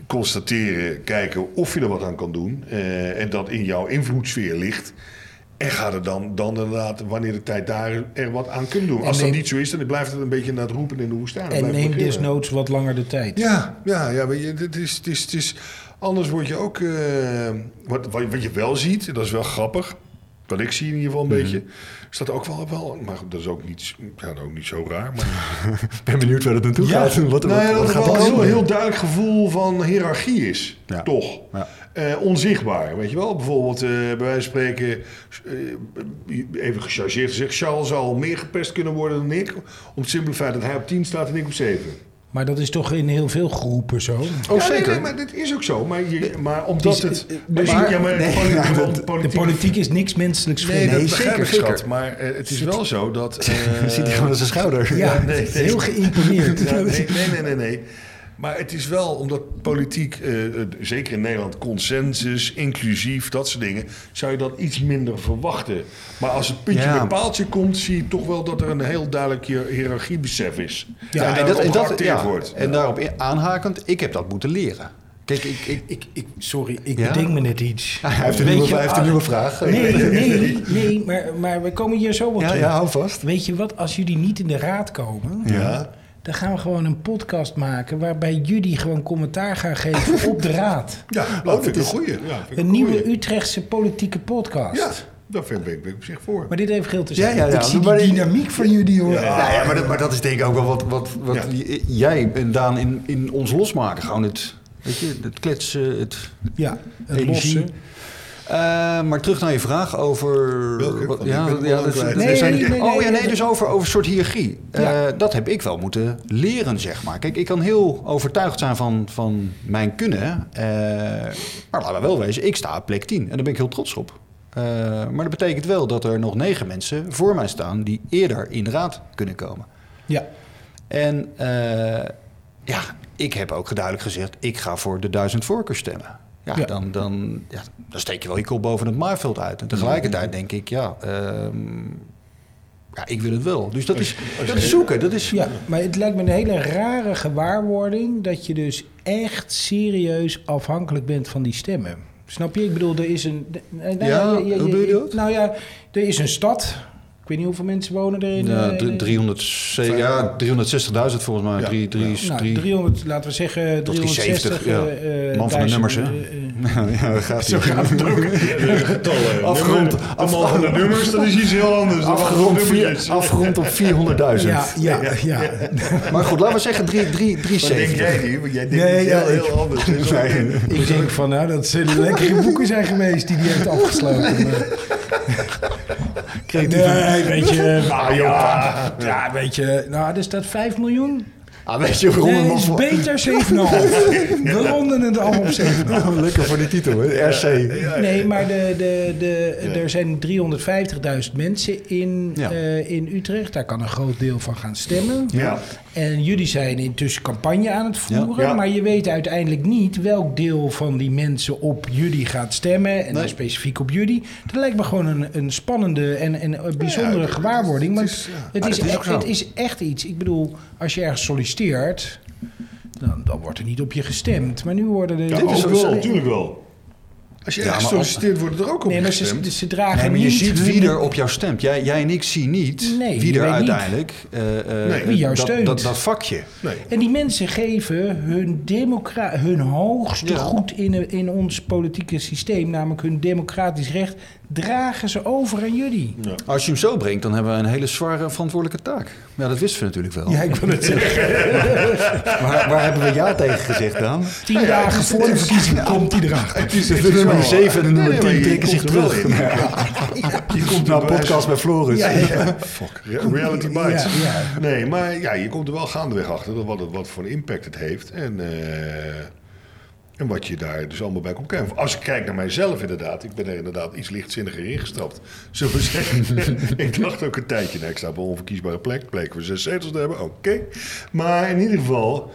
S4: constateren, kijken of je er wat aan kan doen. eh, en dat in jouw invloedssfeer ligt. En ga er dan, dan inderdaad, wanneer de tijd daar er wat aan kunt doen. Als dat
S1: neem-
S4: niet zo is, dan blijft het een beetje naar het roepen in de woestijn.
S1: En
S4: Blijft
S1: neem dus
S4: beginnen.
S1: desnoods wat langer de tijd.
S4: Ja, ja, ja maar je, het is, het is, het is, anders word je ook... eh, wat, wat, wat je wel ziet, en dat is wel grappig... Wat ik zie in ieder geval een
S5: Mhm.
S4: beetje, is dat ook wel... wel maar goed, dat is ook niet, ja, dat is ook niet zo raar. Maar,
S5: Ik ben benieuwd waar dat naartoe
S1: Ja.
S5: gaat. Wat, wat,
S4: nou ja,
S5: wat
S4: dat er
S5: gaat
S4: wel
S5: er
S4: een heel,
S5: komen?
S4: heel duidelijk gevoel van hiërarchie is,
S5: Ja.
S4: toch?
S5: Ja.
S4: Eh, onzichtbaar, weet je wel? Bijvoorbeeld, eh, bij wijze van spreken... eh, even gechargeerd gezegd... Charles zou meer gepest kunnen worden dan ik... om het simpele feit dat hij op 10 staat en ik op 7.
S1: Maar dat is toch in heel veel groepen zo?
S4: Oh, zeker. Nee, maar dit is ook zo. Maar, je, maar omdat
S1: Het is-
S4: het...
S1: dus-
S4: maar, ja, maar
S5: nee,
S4: politiek,
S5: ja,
S4: want
S5: dat-
S1: De
S4: politiek-
S1: politiek is niks menselijks
S4: Nee,
S1: vinden.
S4: dat begrijp
S5: zeker,
S4: ik, schat.
S5: zeker.
S4: Maar eh, het is wel zo dat... eh,
S5: Zit hij gewoon aan zijn schouder?
S1: ja,
S4: nee, nee.
S1: heel geïmponeerd.
S4: ja, nee, nee, nee, nee, nee. Maar het is wel omdat politiek, eh, eh, zeker in Nederland, consensus, inclusief, dat soort dingen, zou je dat iets minder verwachten. Maar als het puntje
S5: Ja.
S4: bij paaltje komt, zie je toch wel dat er een heel duidelijk hier- hiërarchiebesef is.
S5: Ja,
S4: en, dat, geacteerd
S5: ja,
S4: wordt.
S5: En daarop in- aanhakend, ik heb dat moeten leren. Kijk, ik, ik,
S1: Ik, ik, sorry, ik
S5: Ja?
S1: bedenk me net iets.
S5: hij heeft een,
S1: Weet
S5: nieuwe,
S1: je-
S5: hij heeft een nieuwe vraag.
S1: Nee, nee, nee, maar, maar we komen hier zo op
S5: Ja,
S1: terug.
S5: ja, hou vast.
S1: Weet je wat, als jullie niet in de raad komen...
S4: Ja.
S1: dan gaan we gewoon een podcast maken... waarbij jullie gewoon commentaar gaan geven op de raad.
S4: Ja, dat vind ik een goeie. Ja, vind ik
S1: Een nieuwe Utrechtse politieke podcast.
S4: Ja, daar vind ik, ben ik op zich voor.
S1: Maar dit heeft geel te
S5: Dus Ja,
S1: zijn.
S5: ja, ja.
S1: Ik zie
S5: Maar
S1: die
S5: ik-
S1: dynamiek van jullie, hoor.
S5: Nou ja, maar, dat, maar dat is denk ik ook wel wat, wat, wat
S4: Ja.
S5: j- jij en Daan in, in ons losmaken. Gewoon het, Weet je, het kletsen, het
S1: Ja, het
S5: energie.
S1: lossen.
S5: Eh, maar terug naar je vraag over...
S4: Welke?
S5: wat-
S4: Want ik
S5: ja,
S4: ben hem
S5: ja,
S4: al
S5: dat,
S4: kwijt.
S5: dat
S1: Nee,
S5: zijn-
S1: nee, nee,
S5: oh ja,
S1: nee,
S5: nee,
S1: dat-
S5: dus over, over een soort hiërarchie. Eh,
S1: Ja.
S5: dat heb ik wel moeten leren, zeg maar. Kijk, ik kan heel overtuigd zijn van, van mijn kunnen. eh, maar laten we wel wezen, ik sta op plek 10. En daar ben ik heel trots op. Eh, maar dat betekent wel dat er nog negen mensen voor mij staan... die eerder in de raad kunnen komen.
S1: Ja,
S5: En eh, ja, ik heb ook duidelijk gezegd, ik ga voor de duizend voorkeur stemmen. Ja,
S1: Ja.
S5: Dan, dan, ja, dan steek je wel je kop boven het maaiveld uit. En tegelijkertijd denk ik, ja, ehm, ja ik wil het wel. Dus dat is, dat is zoeken. Dat is,
S1: ja, maar het lijkt me een hele rare gewaarwording dat je dus echt serieus afhankelijk bent van die stemmen. Snap je? Ik bedoel, er is een. nou, nou,
S5: Ja, hoe bedoel je dat?
S1: Nou ja, er is een stad. Ik weet niet hoeveel mensen wonen er in.
S5: Ja,
S1: eh,
S5: drie-
S1: in-
S5: 300, ja, 360.000 volgens mij.
S4: Ja.
S5: Drie, drie,
S1: Nou,
S5: drie-
S1: 300, laten we zeggen,
S5: Tot die
S1: 370.
S5: 70, ja.
S1: eh, eh,
S5: Man van
S1: duizend,
S5: de nummers, hè?
S1: eh, eh,
S5: ja, dat gaat niet.
S4: Getallen. Eh,
S5: Afgerond-
S4: Nummer- Allemaal andere nummers, dat is iets heel anders.
S5: Afgerond,
S4: vier.
S5: vier, afgerond op 400.000.
S1: Ja, ja, ja.
S5: Maar goed, laten we zeggen drie- drie-
S4: Wat denk
S5: 370.
S4: jij nu? Want jij denkt
S1: Nee,
S4: iets
S1: ja,
S4: heel, heel
S1: ik-
S4: anders. Dus
S5: Nee.
S1: Ik denk van, nou, dat zullen lekkere boeken zijn geweest die die heeft afgesloten. Maar- Nee, weet je.
S4: Ah,
S1: Nou, ja, ja, weet je. Nou, er staat 5 miljoen.
S5: Ah, weet je, we ronden
S1: Nee,
S5: hem
S1: is
S5: af.
S1: beter 7,5. We ronden het af op 7,5.
S5: Lekker voor de titel, hè? RC.
S1: Nee, maar de, de, de, er zijn 350.000 mensen in,
S5: Ja.
S1: eh, in Utrecht. Daar kan een groot deel van gaan stemmen.
S4: Ja.
S1: En jullie zijn intussen campagne aan het voeren.
S4: Ja.
S1: Maar je weet uiteindelijk niet welk deel van die mensen op jullie gaat stemmen. En dan specifiek op jullie. Dat lijkt me gewoon een, een spannende en, en een bijzondere
S4: het-
S1: gewaarwording. Maar
S4: het
S1: het,
S4: is- ja.
S1: is,
S5: dat is
S1: e-
S5: ook zo.
S1: het is echt iets. Ik bedoel, als je ergens solliciteert. Dan, dan wordt er niet op je gestemd. Maar nu worden er...
S4: Dit is
S1: Oh,
S4: wel,
S1: sorry.
S4: natuurlijk wel. Als je
S5: Ja,
S4: ergens
S5: maar als-
S4: solliciteert, wordt er ook op
S1: Nee, maar ze,
S4: gestemd.
S1: ze- ze dragen
S5: Nee, maar je
S1: niet
S5: ziet
S1: hun-
S5: wie er op jou stemt. Jij, jij en ik zien niet
S1: Nee, je
S5: wie
S1: weet
S5: er
S1: niet.
S5: uiteindelijk eh, eh,
S4: Nee.
S1: Wie jou
S5: dat,
S1: steunt.
S5: Dat, dat vakje.
S4: Nee.
S1: En die mensen geven hun, democra- hun hoogste
S5: Ja.
S1: goed in, in ons politieke systeem, namelijk hun democratisch recht, dragen ze over aan jullie.
S5: Als je hem zo brengt, dan hebben we een hele zware verantwoordelijke taak. Ja, dat wisten we natuurlijk wel.
S1: ik wil het zeggen.
S5: Waar, waar hebben we ja tegen gezegd dan?
S1: Tien dagen voor de verkiezingen komt die erachter.
S5: De nummer 7 en de nummer 10 trekken zich terug.
S4: Je komt
S5: Nou,
S4: er wel-
S5: podcast bij Floris. Oh,
S1: Ja, ja.
S4: Fuck, re- reality bites.
S1: Ja, ja.
S4: Nee, maar ja, je komt er wel gaandeweg achter dat wat, het- wat voor een impact het heeft. En, eh, en wat je daar dus allemaal bij komt kijken. Als ik kijk naar mijzelf inderdaad, ik ben er inderdaad iets lichtzinniger ingestapt. Zullen we zeggen, ik dacht ook een tijdje, nee, ik sta op een onverkiesbare plek. Bleken we zes zetels te hebben, oké. Maar in ieder geval...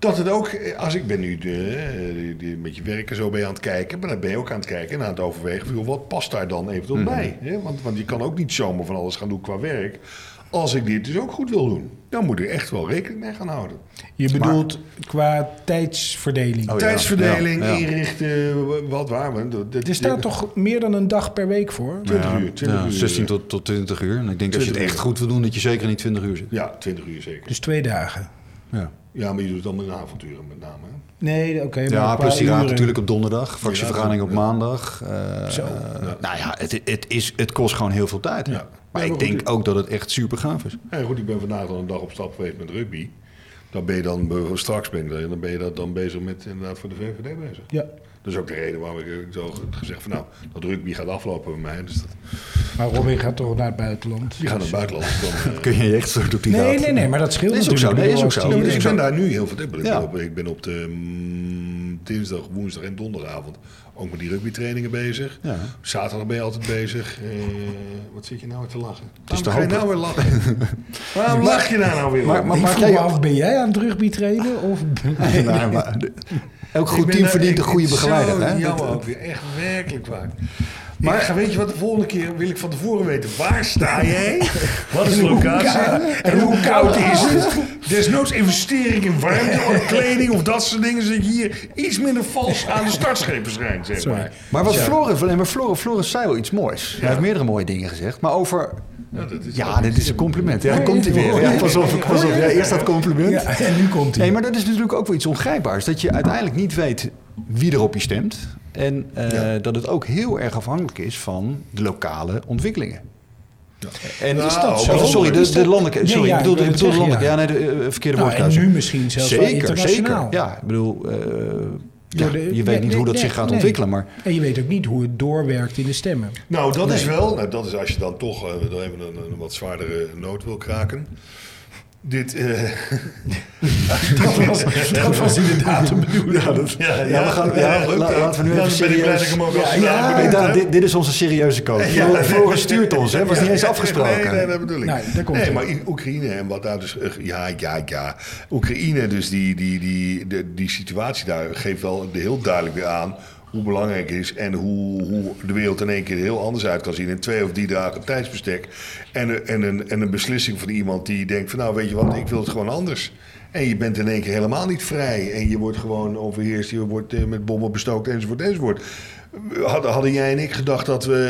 S4: Dat het ook, eh, als ik ben nu de, eh, die- die- met je werk en zo ben je aan het kijken, maar dan ben je ook aan het kijken en aan het overwegen, van, joh, wat past daar dan eventueel bij? Hè? Want, want je kan ook niet zomaar van alles gaan doen qua werk. Als ik dit dus ook goed wil doen, dan moet ik echt wel rekening mee gaan houden.
S1: Je bedoelt qua tijdsverdeling.
S5: Oh ja.
S4: Tijdsverdeling,
S5: ja.
S4: inrichten, w- wat waar. Maar dat- dat-
S1: Er staat toch meer dan een dag per week voor?
S4: 20 uur. 20
S5: Ja,
S4: uur.
S5: 16 tot, tot 20 uur. En ik denk dat je het
S4: 20
S5: echt
S4: uur.
S5: goed wil doen, dat je zeker niet 20 uur zit.
S4: Ja, 20 uur zeker.
S1: Dus twee dagen.
S5: Ja,
S4: Ja, maar je doet het dan met avonturen met name. hè?
S1: Nee, oké. maar
S5: ja
S1: qua
S5: plus die raad
S1: uren. Dus,
S5: natuurlijk op donderdag. Fractievergadering op maandag. eh,
S1: Zo.
S5: Nou ja, het, het, is, het kost gewoon heel veel tijd.
S4: Ja. Ja,
S5: Maar
S4: maar
S5: ik
S4: goed,
S5: denk
S4: dit-
S5: ook dat het echt super gaaf is.
S4: Ja, goed, ik ben vandaag dan een dag op stap geweest met rugby. Dan ben je dan, eh, straks ben ik er, dan ben je dat dan bezig met inderdaad voor de VVD bezig.
S1: Ja.
S4: Dat is ook de reden waarom ik ook zo gezegd van nou, dat rugby gaat aflopen bij mij. Dus dat,
S1: Maar Robin gaat toch naar het buitenland?
S4: die gaan naar het buitenland. Dan, eh,
S5: Kun je je echt zo op die
S1: Nee,
S5: raad-
S1: nee, nee, maar dat scheelt
S5: Is ook
S1: natuurlijk.
S5: zo, Oh, nee,
S1: Ik bedoel,
S5: is ook
S1: als
S5: zo.
S4: Ja,
S1: die-
S4: maar
S5: dat
S4: ik
S5: is
S4: ben daar
S5: zo.
S4: nu heel veel. Ik ben,
S5: Ja.
S4: op, ik ben op de mm, dinsdag, woensdag en donderdagavond ook met die rugbytrainingen bezig.
S5: Ja.
S4: Zaterdag ben je altijd bezig. Eh, wat zit je nou weer te lachen?
S5: is
S4: Waarom
S5: te
S4: ga je
S5: hopen.
S4: nou weer lachen? Waarom lach je daar nou weer
S5: Maar-
S4: om?
S5: maar-
S1: Ik
S5: maak
S1: vroeg
S5: jij
S1: me
S5: ook-
S1: af, ben jij aan het rugby trainen? Of...
S5: Nee, maar de- elk
S4: Ik
S5: goed
S4: ben
S5: team
S4: daar
S5: verdient een
S4: echt
S5: goede begeleider.
S4: Zo
S5: Hè?
S4: jammer
S5: Dat-
S4: ook weer. Echt werkelijk waar. Maar ik ga- weet je wat, de volgende keer wil ik van tevoren weten. Waar sta jij? Wat is de locatie? En hoe koud is het? Desnoods investering in warmte of kleding of dat soort dingen. Zodat je hier iets minder vals aan de startschepen schijnt, zeg maar.
S5: Maar wat Floris, nee, maar Floris, Floris zei wel iets moois. Hij heeft meerdere mooie dingen gezegd. Maar over. Ja, dit is een compliment. Ja, komt hij weer. Ja, pas op, pas op. Ja, eerst dat compliment.
S1: Ja, en nu komt
S5: Nee,
S1: hij.
S5: maar dat is natuurlijk ook wel iets ongrijpbaars. Dat je uiteindelijk niet weet wie er op je stemt. En eh, dat het ook heel erg afhankelijk is van de lokale ontwikkelingen. En
S4: Nou,
S5: is dat
S4: wel
S5: zo? Sorry, de, de landelijke.
S1: Ja,
S5: Sorry,
S1: ja,
S5: ik bedoelde,
S1: ik
S5: ik
S1: wil
S5: bedoelde
S1: het
S5: landelijke. Ja,
S1: zeggen,
S5: nee, de eh, verkeerde
S1: Nou, en
S5: woordkeuze.
S1: nu misschien zelfs wel
S5: zeker,
S1: internationaal.
S5: Zeker, ja. Ik bedoel, eh, Ja,
S1: Door de-
S5: je weet
S1: Nee,
S5: niet
S1: nee,
S5: hoe dat
S1: nee,
S5: zich gaat
S1: nee.
S5: ontwikkelen, maar
S1: En je weet ook niet hoe het doorwerkt in de stemmen.
S4: Nou, dat is
S1: Nee.
S4: wel. Nou, dat is als je dan toch eh, nog even een, een wat zwaardere noot wil kraken. Dit. eh, dat, was, dat was inderdaad een bedoeling. Ja, dat, ja,
S5: Ja, Nou, we gaan, ja,
S4: leuk,
S5: la-
S4: hè?
S5: laten we nu
S4: Ja,
S5: even
S4: dan ben ik blij
S5: serieus...
S4: dat ik hem ook als
S5: ja, ja,
S4: vandaag
S5: ik dacht,
S4: bedacht heb.
S5: dit, dit is onze serieuze coach. Floris Floris stuurt ons, hè? was niet eens
S4: Ja,
S5: afgesproken.
S4: Nee, nee, dat bedoel ik.
S1: Nou, daar komt
S4: nee,
S1: ie.
S4: maar I- Oekraïne en wat daar dus... eh, Ja, ja, ja. Oekraïne, dus die, die, die, de- die situatie daar geeft wel heel duidelijk weer aan hoe belangrijk het is en hoe, hoe de wereld in één keer er heel anders uit kan zien. In twee of drie dagen tijdsbestek. En, een- en, een, en een beslissing van iemand die denkt van nou weet je wat, ik wil het gewoon anders. En je bent in één keer helemaal niet vrij. En je wordt gewoon overheerst, je wordt eh, met bommen bestookt enzovoort enzovoort. Hadden, hadden jij en ik gedacht dat we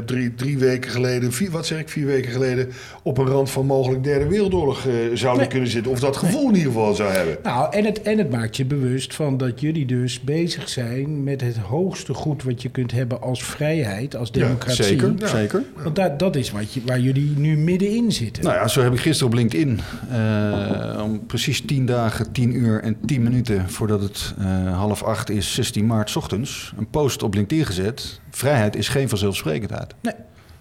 S4: eh, drie, drie weken geleden, vier, wat zeg ik, vier weken geleden, op een rand van mogelijk derde wereldoorlog eh, zouden
S1: Nee.
S4: kunnen zitten? Of dat gevoel in ieder geval zou hebben.
S1: Nou, en het, en het maakt je bewust van dat jullie dus bezig zijn met het hoogste goed wat je kunt hebben als vrijheid, als democratie.
S5: Zeker, zeker.
S1: Want dat, dat is wat je, waar jullie nu middenin zitten.
S5: Nou ja, zo heb ik gisteren op LinkedIn eh, om precies 10 dagen, 10 uur en 10 minuten voordat het eh, half acht is, 16 maart 's ochtends, een post op LinkedIn gezet. Vrijheid is geen vanzelfsprekendheid.
S1: Nee.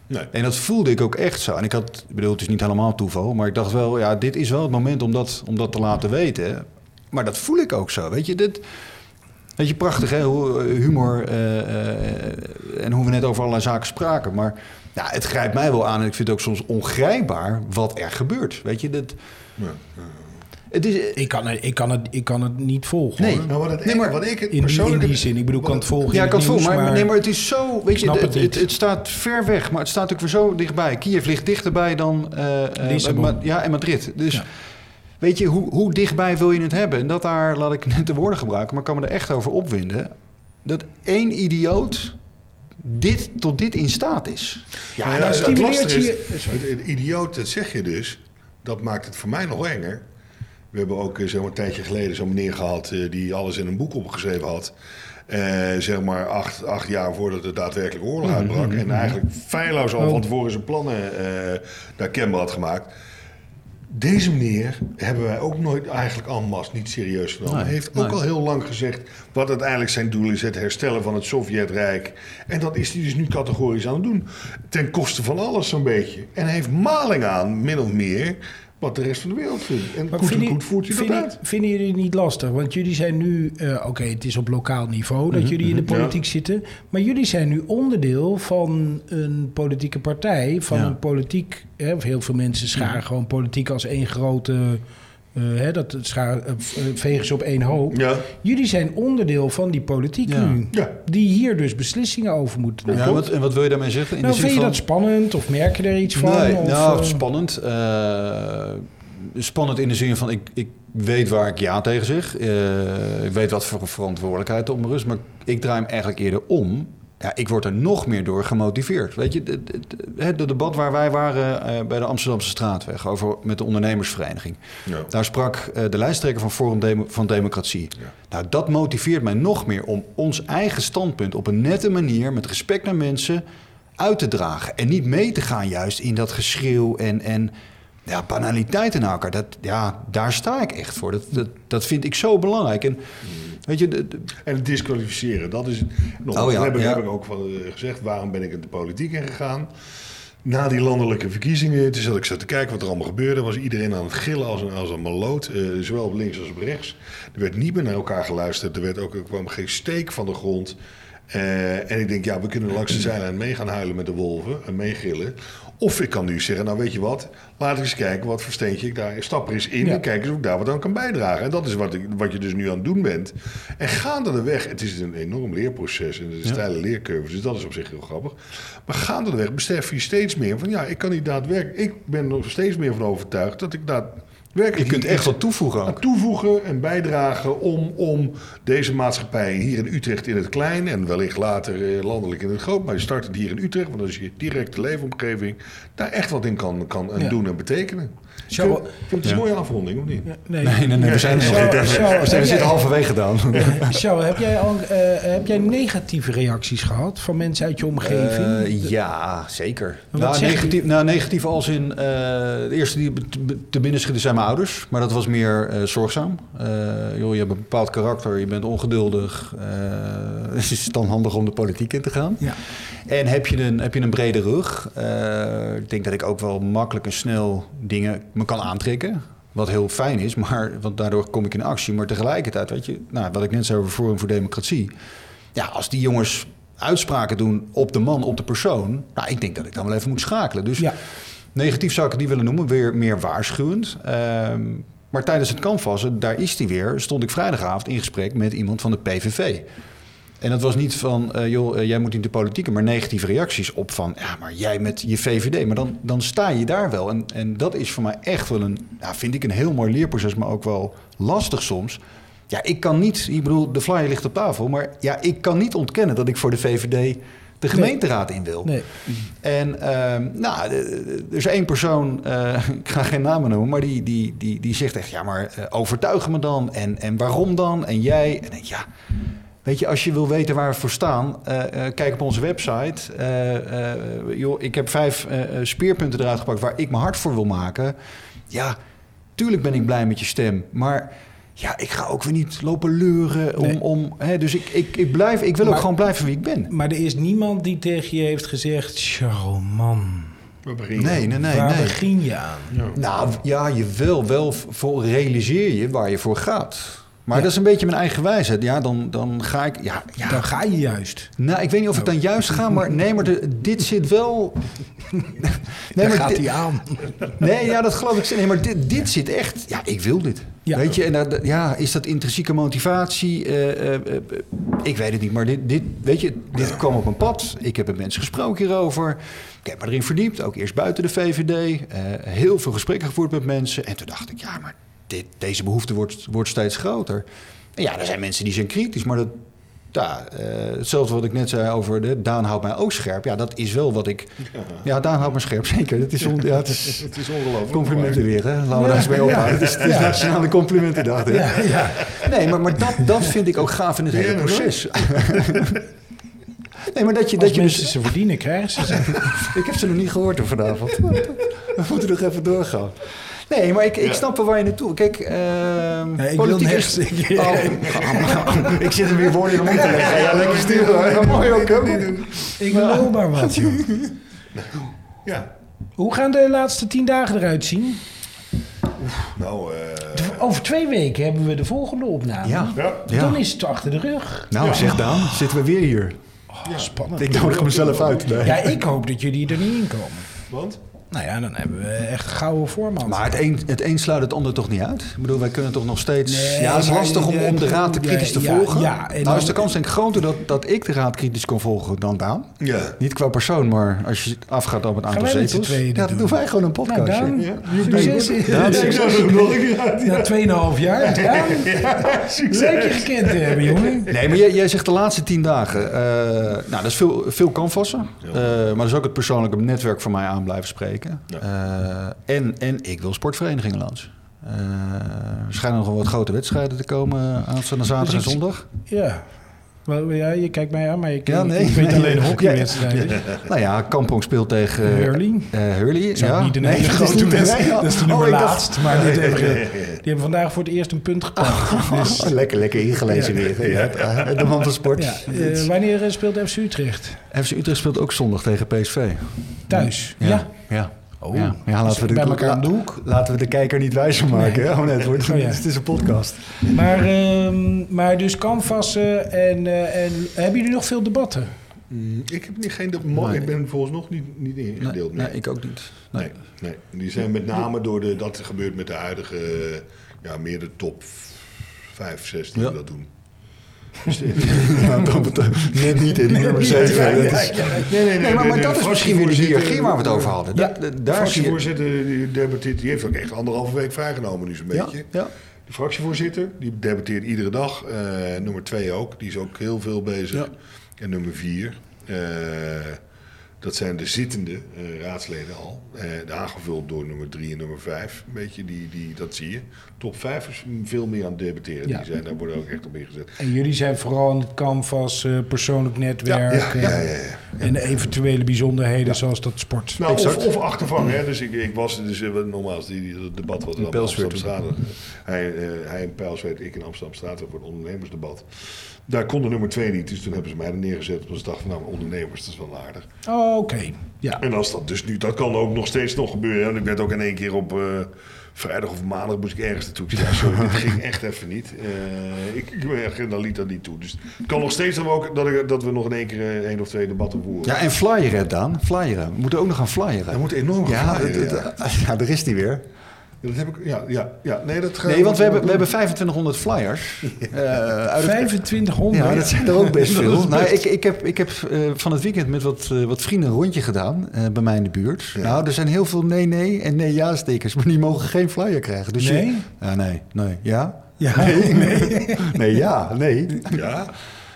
S4: Nee.
S5: En dat voelde ik ook echt zo. En ik had, ik bedoel, het is niet helemaal toeval, maar ik dacht wel, ja, dit is wel het moment om dat, om dat te laten weten. Maar dat voel ik ook zo. Weet je, dit, weet je prachtig hè, hoe, eh, humor eh, eh, en hoe we net over allerlei zaken spraken. Maar ja, het grijpt mij wel aan en ik vind het ook soms ongrijpbaar wat er gebeurt. Weet je, dat. Het is,
S1: Ik, kan, het- ik, kan het, ik kan het niet volgen.
S5: Nee.
S1: hoor.
S4: Nou, wat het,
S5: Nee, maar
S4: wat ik het
S1: In, die- in
S4: persoonlijk...
S1: die zin. Ik bedoel, ik kan het volgen. in
S5: Ja,
S1: het
S5: ik kan het
S1: nieuws,
S5: voelen, maar, nee, maar het is zo. Weet je,
S1: snap
S5: het,
S1: het
S5: het,
S1: niet.
S5: het, staat ver weg, maar het staat ook weer zo dichtbij. Kiev ligt dichterbij dan eh, eh,
S1: Lissabon.
S5: Ma- ja, en Madrid. Dus
S1: Ja.
S5: weet je, hoe, hoe dichtbij wil je het hebben? En dat daar, laat ik net de woorden gebruiken, maar ik kan me er echt over opwinden. Dat één idioot dit, tot dit in staat is.
S1: Ja,
S4: Nou
S1: dan
S4: het
S1: stimuleert
S4: lastige is,
S1: je-
S4: Het, het idioot, dat zeg je dus, dat maakt het voor mij nog enger. We hebben ook eh, zo'n tijdje geleden zo'n meneer gehad eh, die alles in een boek opgeschreven had. Eh, zeg maar acht, acht jaar voordat het daadwerkelijk oorlog uitbrak. En eigenlijk feilloos al van tevoren zijn plannen eh daar kenbaar had gemaakt. Deze meneer hebben wij ook nooit eigenlijk en masse niet serieus genomen. Hij heeft ook al heel lang gezegd wat uiteindelijk zijn doel is: het herstellen van het Sovjetrijk. En dat is hij dus nu categorisch aan het doen. Ten koste van alles zo'n beetje. En hij heeft maling aan, min of meer, wat de rest van de wereld vindt. En
S1: Maar
S4: goed en
S1: vinden-
S4: goed voert hij dat
S1: vinden-
S4: uit.
S1: Vinden jullie het niet lastig? Want jullie zijn nu, eh, oké, het is op lokaal niveau
S5: Mhm,
S1: dat jullie in de politiek zitten. Maar jullie zijn nu onderdeel van een politieke partij, van een politiek. Hè, of heel veel mensen scharen gewoon politiek als één grote. eh, hè, dat schaar, eh, v- eh, vegen ze op één hoop.
S4: Ja.
S1: Jullie zijn onderdeel van die politiek
S5: Ja.
S1: nu.
S4: Ja.
S1: Die hier dus beslissingen over moeten nemen.
S5: Ja, wat, en wat wil je daarmee zeggen? In
S1: nou,
S5: de zin
S1: vind je
S5: van-
S1: dat spannend of merk je er iets van?
S5: Nee,
S1: of,
S5: nou,
S1: eh,
S5: spannend. Eh, spannend in de zin van, ik, ik weet waar ik ja tegen zeg. Eh, ik weet wat voor verantwoordelijkheid er rust. Maar ik draai hem eigenlijk eerder om. Ja, ik word er nog meer door gemotiveerd. Weet je, het, het, het- het debat waar wij waren eh, bij de Amsterdamse Straatweg... Over, met de ondernemersvereniging.
S4: Ja.
S5: Daar sprak eh, de lijsttrekker van Forum Demo- van Democratie. Nou, dat motiveert mij nog meer om ons eigen standpunt op een nette manier, met respect naar mensen, uit te dragen. En niet mee te gaan juist in dat geschreeuw en, en ja, banaliteiten naar elkaar. Dat, ja, daar sta ik echt voor. Dat, dat, dat vind ik zo belangrijk. En weet je, de- de-
S4: En het disqualificeren, dat is. Nog,
S5: Oh ja,
S4: dat heb, ik-
S5: ja.
S4: heb ik ook van, eh, gezegd. Waarom ben ik in de politiek ingegaan? Na die landelijke verkiezingen, toen zat ik zo te kijken wat er allemaal gebeurde, was iedereen aan het gillen als een, als een maloot, eh, zowel op links als op rechts. Er werd niet meer naar elkaar geluisterd, er, werd ook, er kwam geen steek van de grond. Eh, en ik denk, ja, we kunnen langs de zijlijn mee gaan huilen met de wolven en meegillen. Of ik kan nu zeggen, nou weet je wat, laat ik eens kijken wat voor steentje ik daar, stap er eens in
S1: Ja.
S4: en kijk eens of ik daar wat aan kan bijdragen. En dat is wat, ik, wat je dus nu aan het doen bent. En gaandeweg, het is een enorm leerproces en het is een steile leercurve, dus dat is op zich heel grappig. Maar gaandeweg besef je steeds meer van, ja, ik kan hier daadwerkelijk, ik ben er steeds meer van overtuigd dat ik daadwerkelijk...
S5: je kunt
S4: hier
S5: echt
S4: iets
S5: wat toevoegen
S4: aan
S5: ook.
S4: toevoegen en bijdragen om, om deze maatschappij hier in Utrecht in het klein en wellicht later eh, landelijk in het groot, maar je start het hier in Utrecht, want dat is je directe leefomgeving, daar echt wat in kan, kan en
S1: Ja.
S4: doen en betekenen. Ik
S1: Charles-
S4: vind- ik vind het is een
S5: Ja.
S4: mooie afronding, of niet?
S1: nee.
S5: Nee, nee, nee, we zijn er nog
S1: Zo-
S5: niet.
S1: zo-
S5: We zijn- we zitten halverwege gedaan.
S1: Charles, heb jij, al, eh, heb jij negatieve reacties gehad van mensen uit je omgeving?
S5: Eh, ja, zeker.
S1: Wat
S5: Nou
S1: zeg je?
S5: negatief, nou, negatief als in... eh, de eerste die be- be- te binnen schieten zijn mijn ouders. Maar dat was meer eh, zorgzaam. Eh, joh, je hebt een bepaald karakter, je bent ongeduldig. eh, het is dan handig om de politiek in te gaan.
S1: Ja.
S5: En heb je een, heb je een brede rug? eh, ik denk dat ik ook wel makkelijk en snel dingen me kan aantrekken. Wat heel fijn is, maar, want daardoor kom ik in actie. Maar tegelijkertijd, weet je, nou, wat ik net zei over Forum voor Democratie. Ja, als die jongens uitspraken doen op de man, op de persoon. Nou, ik denk dat ik dan wel even moet schakelen. Dus
S1: Ja.
S5: negatief zou ik het niet willen noemen, weer meer waarschuwend. Ehm, maar tijdens het canvassen, daar is die weer, stond ik vrijdagavond in gesprek met iemand van de PVV. En dat was niet van, eh, joh, eh, jij moet niet de politieke, maar negatieve reacties op van, ja, maar jij met je VVD. Maar dan, dan sta je daar wel. En, en dat is voor mij echt wel een, ja, vind ik een heel mooi leerproces, maar ook wel lastig soms. Ja, ik kan niet, ik bedoel, de flyer ligt op tafel, maar ja, ik kan niet ontkennen dat ik voor de VVD de gemeenteraad in wil.
S1: Nee.
S5: En ehm, nou, eh, er is één persoon, eh, ik ga geen namen noemen, maar die, die, die, die zegt echt, ja, maar eh, overtuig me dan en, en waarom dan en jij. En ik, ja, weet je, als je wil weten waar we voor staan, eh, eh, kijk op onze website. Eh, eh, joh, ik heb vijf eh, eh, speerpunten eruit gepakt waar ik me hard voor wil maken. Ja, tuurlijk ben ik blij met je stem, maar... Ja, ik ga ook weer niet lopen leuren om...
S1: Nee.
S5: om hè, dus ik, ik, ik, blijf, ik wil ook
S1: Maar-
S5: gewoon blijven wie ik ben.
S1: Maar er is niemand die tegen je heeft gezegd... Charles, man,
S4: We beginnen.
S5: Nee, nee, nee.
S1: waar
S5: nee.
S1: begin je aan?
S5: Nou ja, je wil wel voor realiseer je waar je voor gaat. Maar dat is een beetje mijn eigen wijsheid. Ja, dan, dan ga ik. Ja, ja.
S1: Dan ga je juist.
S5: Nou, ik weet niet of ik dan juist ga, maar nee, maar de- dit zit wel. nee,
S1: Dan
S5: maar
S1: gaat
S5: dit-
S1: hij aan.
S5: nee, ja, dat geloof ik. Nee, maar dit, dit zit echt. Ja, ik wil dit.
S1: Ja.
S5: Weet je, en dat, ja, is dat intrinsieke motivatie? Eh, eh, eh, ik weet het niet, maar dit, dit, weet je, dit kwam op mijn pad. Ik heb met mensen gesproken hierover. Ik heb me erin verdiept, ook eerst buiten de VVD. Eh, heel veel gesprekken gevoerd met mensen. En toen dacht ik, ja, maar dit, deze behoefte wordt, wordt steeds groter. En ja, er zijn mensen die zijn kritisch, maar dat, ja, eh, hetzelfde wat ik net zei over de Daan houdt mij ook scherp. Ja, dat is wel wat ik... Ja, Daan houdt me scherp, zeker. Dat is, on, ja, het is
S4: Het is ongelooflijk.
S5: Complimenten weer, hè? Laten we daar eens mee ophouden. Het is, het is Nationale Complimentendag, hè? Nee, maar, maar dat, dat vind ik ook gaaf in het hele
S4: Weer een
S5: proces. Nee, maar dat je,
S1: Als
S5: dat je
S1: mensen
S5: dus...
S1: ze verdienen, krijgen ze ze.
S5: Ik heb ze nog niet gehoord hoor, vanavond. We moeten nog even doorgaan. Nee, maar ik, ik snap wel waar je naartoe... Kijk, ehm
S1: Nee, ik wil
S5: politiek
S1: niks.
S5: is... Oh, ik zit er weer woorden in om te leggen. Ja, lekker stil hoor. Mooi ook, hè?
S1: Ik wil maar wat, joh.
S4: Ja.
S1: Hoe gaan de laatste tien dagen eruit zien?
S4: Nou, eh,
S1: Over twee weken hebben we de volgende opname.
S5: Ja.
S4: ja.
S1: Dan
S5: ja.
S1: is het achter de rug.
S5: Nou, zeg Daan, zitten we weer hier.
S1: ja. Spannend.
S5: Ik nodig mezelf uit. Nee.
S1: Ja, ik hoop dat jullie er niet in komen.
S4: Want?
S1: Nou ja, dan hebben we echt gouden voorman.
S5: Maar het een, het een sluit het ander toch niet uit? Ik bedoel, wij kunnen toch nog steeds...
S1: Nee,
S5: ja, het is
S1: maar-
S5: lastig om, om de raad te
S1: Ja,
S5: kritisch te
S1: ja,
S5: volgen.
S1: ja, en dan-
S5: nou is de kans denk ik groter dat, dat ik de raad kritisch kan volgen dan Daan.
S4: Ja.
S5: Niet qua persoon, maar als je afgaat op het aantal
S1: wij met z'n
S5: zetels.
S1: tweeën
S5: Ja,
S1: dit
S5: dat
S1: doen?
S5: doen wij gewoon een
S1: nou,
S5: podcast.
S1: Daan,
S5: hè?
S1: succes.
S5: Daan, succes.
S1: Na 2,5 jaar, Daan. Leuk je gekend te hebben, jongen.
S5: Nee, maar jij, jij zegt de laatste tien dagen. eh, nou, dat is veel, veel canvassen. Eh, maar dat is ook het persoonlijke netwerk van mij aan blijven spreken. Eh, en, en ik wil sportverenigingen langs. Eh, er schijnen nog wel wat grote wedstrijden te komen aanstaande zaterdag en
S1: ik-
S5: zondag.
S1: Ja. Wel, ja, je kijkt mij aan, maar ik,
S5: Ja, nee.
S1: ik weet
S5: Nee.
S1: alleen hockeywedstrijden.
S5: Nou ja, Kampong speelt tegen eh,
S1: Hurley.
S5: eh, Hurley.
S1: Is ook
S5: ja.
S1: niet een
S5: Nee,
S1: hele
S5: dat is
S1: grote
S5: niet een
S1: wedstrijd.
S5: hele-
S1: Dat is de
S5: Oh,
S1: nummer
S5: ik dacht-
S1: laatst. Maar die hebben, die hebben vandaag voor het eerst een punt gepakt. Dus,
S5: Oh, lekker, lekker ingelezen weer. Ja, de man van sport.
S1: ja. Eh, wanneer eh, speelt FC Utrecht?
S5: FC Utrecht speelt ook zondag tegen PSV.
S1: Thuis. Ja.
S5: Ja. ja.
S1: Oh.
S5: ja. Ja,
S1: Dus
S5: laten we de,
S1: bij elkaar aan de
S5: la-
S1: hoek.
S5: Laten we de kijker niet wijzer maken. hè? Oh nee, het, wordt,
S1: Oh, ja.
S5: het is een podcast.
S1: Maar, ehm, maar dus canvassen en, eh, en hebben jullie nog veel debatten?
S4: Mm, Ik heb niet geen... de- mo-
S5: Nee.
S4: Ik ben volgens nog niet, niet ingedeeld. meer.
S5: ik ook niet.
S4: Nee, nee. Die zijn met name door de, dat gebeurt met de huidige, eh, ja, meer de top 5, 6 die
S5: Ja.
S4: dat doen.
S5: Nou, net niet in nummer
S4: Ja,
S5: 7.
S4: ja, ja. Nee, nee,
S5: Nee, maar, maar dat is misschien weer de hiërarchie waar we het over hadden.
S1: Ja.
S5: Da- da-
S4: De
S5: daar zie je...
S4: fractievoorzitter die debatteert, die heeft ook echt anderhalve week vrijgenomen nu zo'n
S5: Ja,
S4: beetje.
S5: ja.
S4: De fractievoorzitter, die debatteert iedere dag. Eh, nummer twee ook, die is ook heel veel bezig. En nummer vier. eh, Dat zijn de zittende eh, raadsleden al. Eh, aangevuld door nummer 3 en nummer 5. Een beetje die, die, dat zie je. Top 5 is veel meer aan het debatteren.
S1: Ja.
S4: Die zijn, daar worden ook echt op ingezet.
S1: En jullie zijn vooral aan het canvas, eh, persoonlijk netwerk
S4: ja, ja,
S1: eh,
S4: ja, ja.
S1: en de eventuele bijzonderheden zoals dat sport.
S4: Nou,
S5: Exact.
S4: of, of achtervang, hè. Dus ik, ik was dus eh, normaal is die, die- dat debat wat in
S5: Pijlsweer
S4: Amsterdam Straat. Hij, eh hij in Pijlsweer, ik in Amsterdam Straat voor het ondernemersdebat. Daar kon de nummer twee niet, dus toen hebben ze mij er neergezet. Op ze dacht van, nou, ondernemers, dat is wel aardig.
S1: Oh, Oké, ja.
S4: En als dat dus nu, dat kan ook nog steeds nog gebeuren. En ik werd ook in één keer op eh, vrijdag of maandag moest ik ergens naartoe. Ik zei, Ja, sorry, dit ging echt even niet. Eh, ik, ik- mijn agenda liet dat niet toe. Dus het kan nog steeds dat we, ook, dat ik, dat we nog in één keer eh, één of twee debatten voeren.
S5: Ja, en flyeren, Daan. Flyeren. We moeten ook nog gaan flyeren.
S4: Er moet enorm
S5: ja,
S4: gaan flyeren,
S5: het- het- ja, er is die weer.
S4: Ja, Dat heb ik, ja, ja, ja. Nee, dat gaan
S5: Nee, want we hebben, we
S4: doen.
S5: hebben 2500 flyers. Eh, uit het-
S1: 2500.
S5: Ja, dat zijn er ook best
S4: Dat
S5: veel.
S4: is
S5: Nou,
S4: best.
S5: ik, ik heb, ik heb eh, van het weekend met wat, eh, wat vrienden een rondje gedaan eh, bij mij in de buurt. Nou, er zijn heel veel nee-nee en nee-ja-stekers, maar die mogen geen flyer krijgen. Dus je-
S1: Nee?
S5: Ja, nee, nee, ja.
S1: Ja.
S5: nee, nee. Nee, ja, nee.
S4: Ja,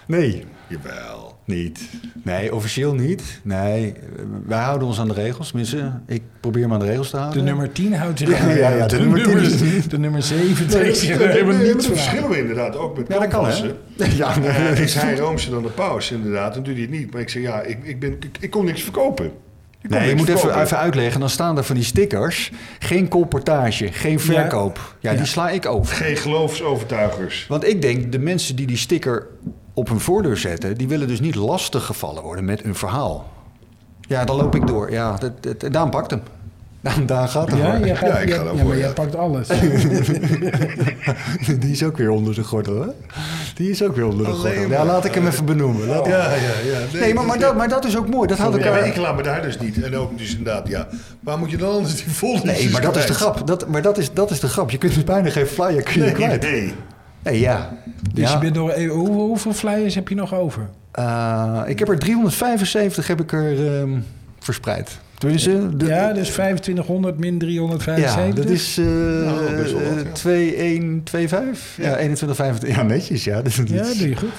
S5: Nee,
S4: jawel.
S5: niet. Nee, officieel niet. Nee, eh, wij houden ons aan de regels. Tenminste, ik probeer me aan de regels te houden.
S1: De nummer 10 houdt zich
S5: Ja,
S1: aan.
S5: ja, ja, de nummer 10 is-
S1: De nummer 7
S4: Nee,
S1: trekt
S4: dat,
S1: zich
S4: dat- nee,
S1: helemaal
S4: nee,
S1: niet
S4: dat
S1: van aan.
S4: verschillen we inderdaad ook met
S5: Ja, dat kan, hè?
S4: canvassen.
S5: Ja,
S4: Eh,
S5: nee.
S4: is hij roomser dan de paus, inderdaad. Dan doet hij het niet. Maar ik zeg, ja, ik, ik, ben, ik, ik kon niks verkopen. Ik kon
S5: Nee, je
S4: niks
S5: moet even,
S4: verkopen.
S5: even uitleggen. Dan staan er van die stickers. Geen colportage, geen verkoop. Ja, die sla ik over.
S4: Geen geloofsovertuigers.
S5: Want ik denk, de mensen die die sticker op hun voordeur zetten... die willen dus niet lastiggevallen worden met een verhaal. Ja, dan loop ik door. Ja, dat, dat, Daan pakt hem. Daan, Daan gaat hem.
S1: Ja, jij gaat,
S4: Ja, ik
S1: jij-
S4: ga
S1: ja,
S4: daarvoor,
S1: maar
S4: ja.
S1: jij pakt alles.
S5: Die is ook weer onder de gordel, hè? Die is ook weer onder de
S4: Alleen
S5: gordel.
S4: maar.
S5: Ja, laat ik hem even benoemen. Laat ik-
S4: Ja, ja, ja.
S5: Nee, maar, maar, dat, maar dat is ook mooi. Dat had ik...
S4: Ja, maar ik laat me daar dus niet. En ook dus inderdaad, ja. Waar moet je dan anders die volgende
S5: Nee, maar dat is de grap. Dat, maar dat is, dat is de grap. Je kunt dus bijna geen flyer kun je
S4: Nee,
S5: kwijt.
S4: nee.
S5: Nee, ja.
S1: Dus
S5: ja.
S1: je bent door, hoe- hoeveel flyers heb je nog over?
S5: Eh, ik heb er 375 heb ik er, ehm, verspreid. Tenminste, de-
S1: ja, dus 2500 min
S5: ja,
S1: 375.
S5: dat is eh
S4: Nou, best wel wat, ja.
S5: 2125. Ja, 2125. Ja, netjes, ja. Dat is
S1: Ja,
S5: iets.
S1: doe je goed.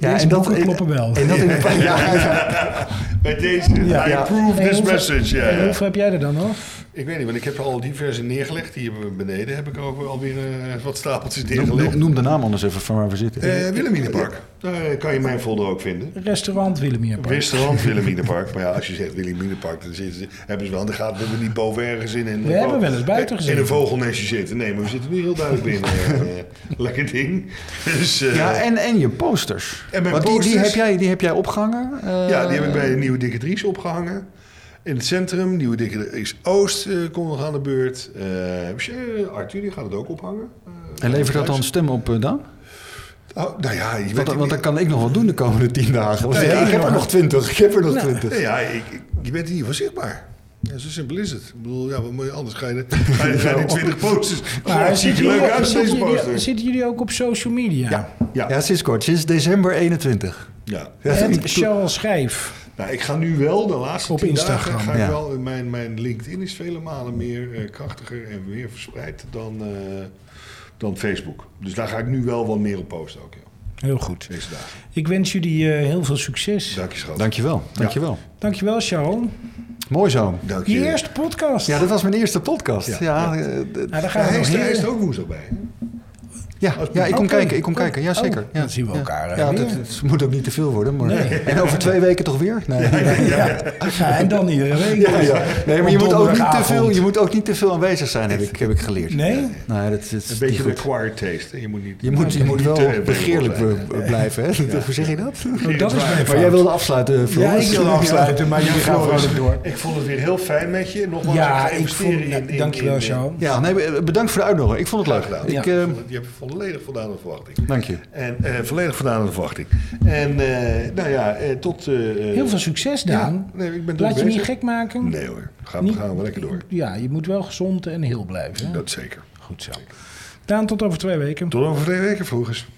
S5: ja
S1: Deze boeken kloppen wel.
S5: En dat in de, ja, ja.
S4: Bij deze,
S1: Ja.
S4: I
S5: Ja.
S4: approve
S1: En
S4: this
S1: hoeveel-
S4: message. Ja,
S1: en
S4: ja.
S1: Hoeveel heb jij er dan nog?
S4: Ik weet niet, want ik heb al diverse neergelegd. Hier beneden heb ik ook alweer eh, wat stapeltjes
S5: Noem,
S4: neergelegd.
S5: noem- noem de naam anders even van waar we zitten.
S4: Eh Willeminepark. Daar eh, kan je mijn folder ook vinden.
S1: Restaurant Willemeerpark.
S4: Restaurant Willeminepark. Maar ja, als je zegt Willeminepark, dan zitten ze, hebben ze wel in de gaten dat we niet boven ergens in. een- Eh,
S1: We hebben wel eens buiten gezeten.
S4: In een vogelnestje zitten. Nee, maar we zitten nu heel duidelijk binnen. Eh, lekker ding. Dus, eh,
S5: Ja, en, en je posters.
S4: En mijn
S5: Want Die, die,
S4: posters?
S5: heb jij, die heb jij opgehangen. eh,
S4: Ja, die heb ik bij de Nieuwe Dikke Dries opgehangen. In het centrum. Nieuwe Dikke Dries Oost eh, komt nog aan de beurt. Eh Arthur die gaat het ook ophangen. Eh,
S5: En levert dat dan stemmen op eh, dan?
S4: Oh, nou ja, je weet het
S5: Want, want
S4: niet.
S5: dan kan ik nog wat doen de komende tien dagen. Want
S4: Ja, ja,
S5: ik heb er
S4: ja.
S5: nog twintig. Ik heb er nog twintig.
S4: Nee, ja, ik, ik- je bent in ieder geval zichtbaar. Ja, zo simpel is het. Ik bedoel, ja, wat moet je anders? Ga je, ga je, ga je die 20 posters...
S1: Maar
S4: Ja, ziet er leuk
S1: jullie-
S4: uit, deze
S1: zitten jullie-
S4: poster.
S1: Zitten jullie ook op social media?
S5: Ja.
S4: Ja.
S5: Ja. sinds kort. Sinds december 21.
S4: Ja.
S5: Ja, ik-
S1: En Charles Schijf.
S4: Nou, ik ga nu wel de laatste
S1: Op
S4: tien
S1: Instagram,
S4: dagen... Ga ik
S5: ja.
S4: wel, mijn, mijn LinkedIn is vele malen meer eh, krachtiger en meer verspreid dan, eh, dan Facebook. Dus daar ga ik nu wel wat meer op posten ook, ja.
S1: Heel goed.
S4: Deze dagen.
S1: Ik wens jullie eh, heel veel succes.
S4: Dank je, schat.
S5: Dankjewel. Dankjewel.
S1: Dankjewel, Charles.
S5: Mooi zo.
S4: Dank
S1: Je
S4: je.
S1: eerste podcast.
S5: Ja, dat was mijn eerste podcast. Ja, ja, eh, d-
S1: Nou, daar gaan we
S4: Hij
S1: nog
S4: is, hij
S1: heel-
S4: is er ook woensdag bij. hè?
S5: ja, ja, ik kom
S1: Oké.
S5: kijken. Ik kom kijken. Ja, zeker.
S1: Oh,
S5: Ja.
S1: dan zien we elkaar,
S5: Ja,
S1: eh,
S5: ja
S1: weer.
S5: dat, het moet ook niet te veel worden. Maar...
S1: Nee.
S5: En over twee weken toch weer? Nee.
S1: Ja, en dan iedere week.
S5: Ja, ja. nee maar je
S1: Op
S5: moet, ook niet te veel,
S1: donderdagavond.
S5: je moet ook niet te veel aanwezig zijn, heb ik, heb ik geleerd.
S1: Nee?
S5: Nee, dat, dat is
S4: Een
S5: niet
S4: beetje
S5: goed.
S4: required taste. hè. Je moet niet...
S5: Je moet, je moet
S4: niet te
S5: wel
S4: available
S5: begeerlijk
S4: zijn.
S5: eh, blijven. Hè? Hoe zeg je dat?
S1: Nou, dat is mijn
S5: Maar
S1: fout.
S5: jij wilde afsluiten,
S1: ja, ik
S5: Floris.
S1: wil afsluiten, maar jullie gaan
S4: Floris,
S1: vrolijk door.
S4: Ik vond het weer heel fijn met je. Nogmaals, ik
S1: Ja,
S4: ga
S1: ik
S4: investeren
S1: voel...
S4: in, in...
S1: Dankjewel,
S4: in- in-
S1: Charles.
S5: Ja, nee, eh, bedankt voor de uitnodiging. Ik vond het leuk.
S4: Graag gedaan.
S5: Ik,
S4: Je
S5: eh,
S1: Um,
S4: hebt- Je hebt volledig voldaan aan de verwachting.
S5: dank je.
S4: En eh, volledig voldaan aan de verwachting. En eh, nou ja, eh, tot... eh,
S1: Heel veel succes, Daan.
S4: Ja, nee, ik ben druk
S1: Laat je niet
S4: bezig.
S1: gek maken.
S4: Nee hoor, gaan,
S1: Niet-
S4: gaan we lekker door.
S1: Ja, je moet wel gezond en heel blijven. hè?
S4: Dat zeker.
S1: Goed zo. Daan, tot over twee weken.
S4: Tot over twee weken vroegers.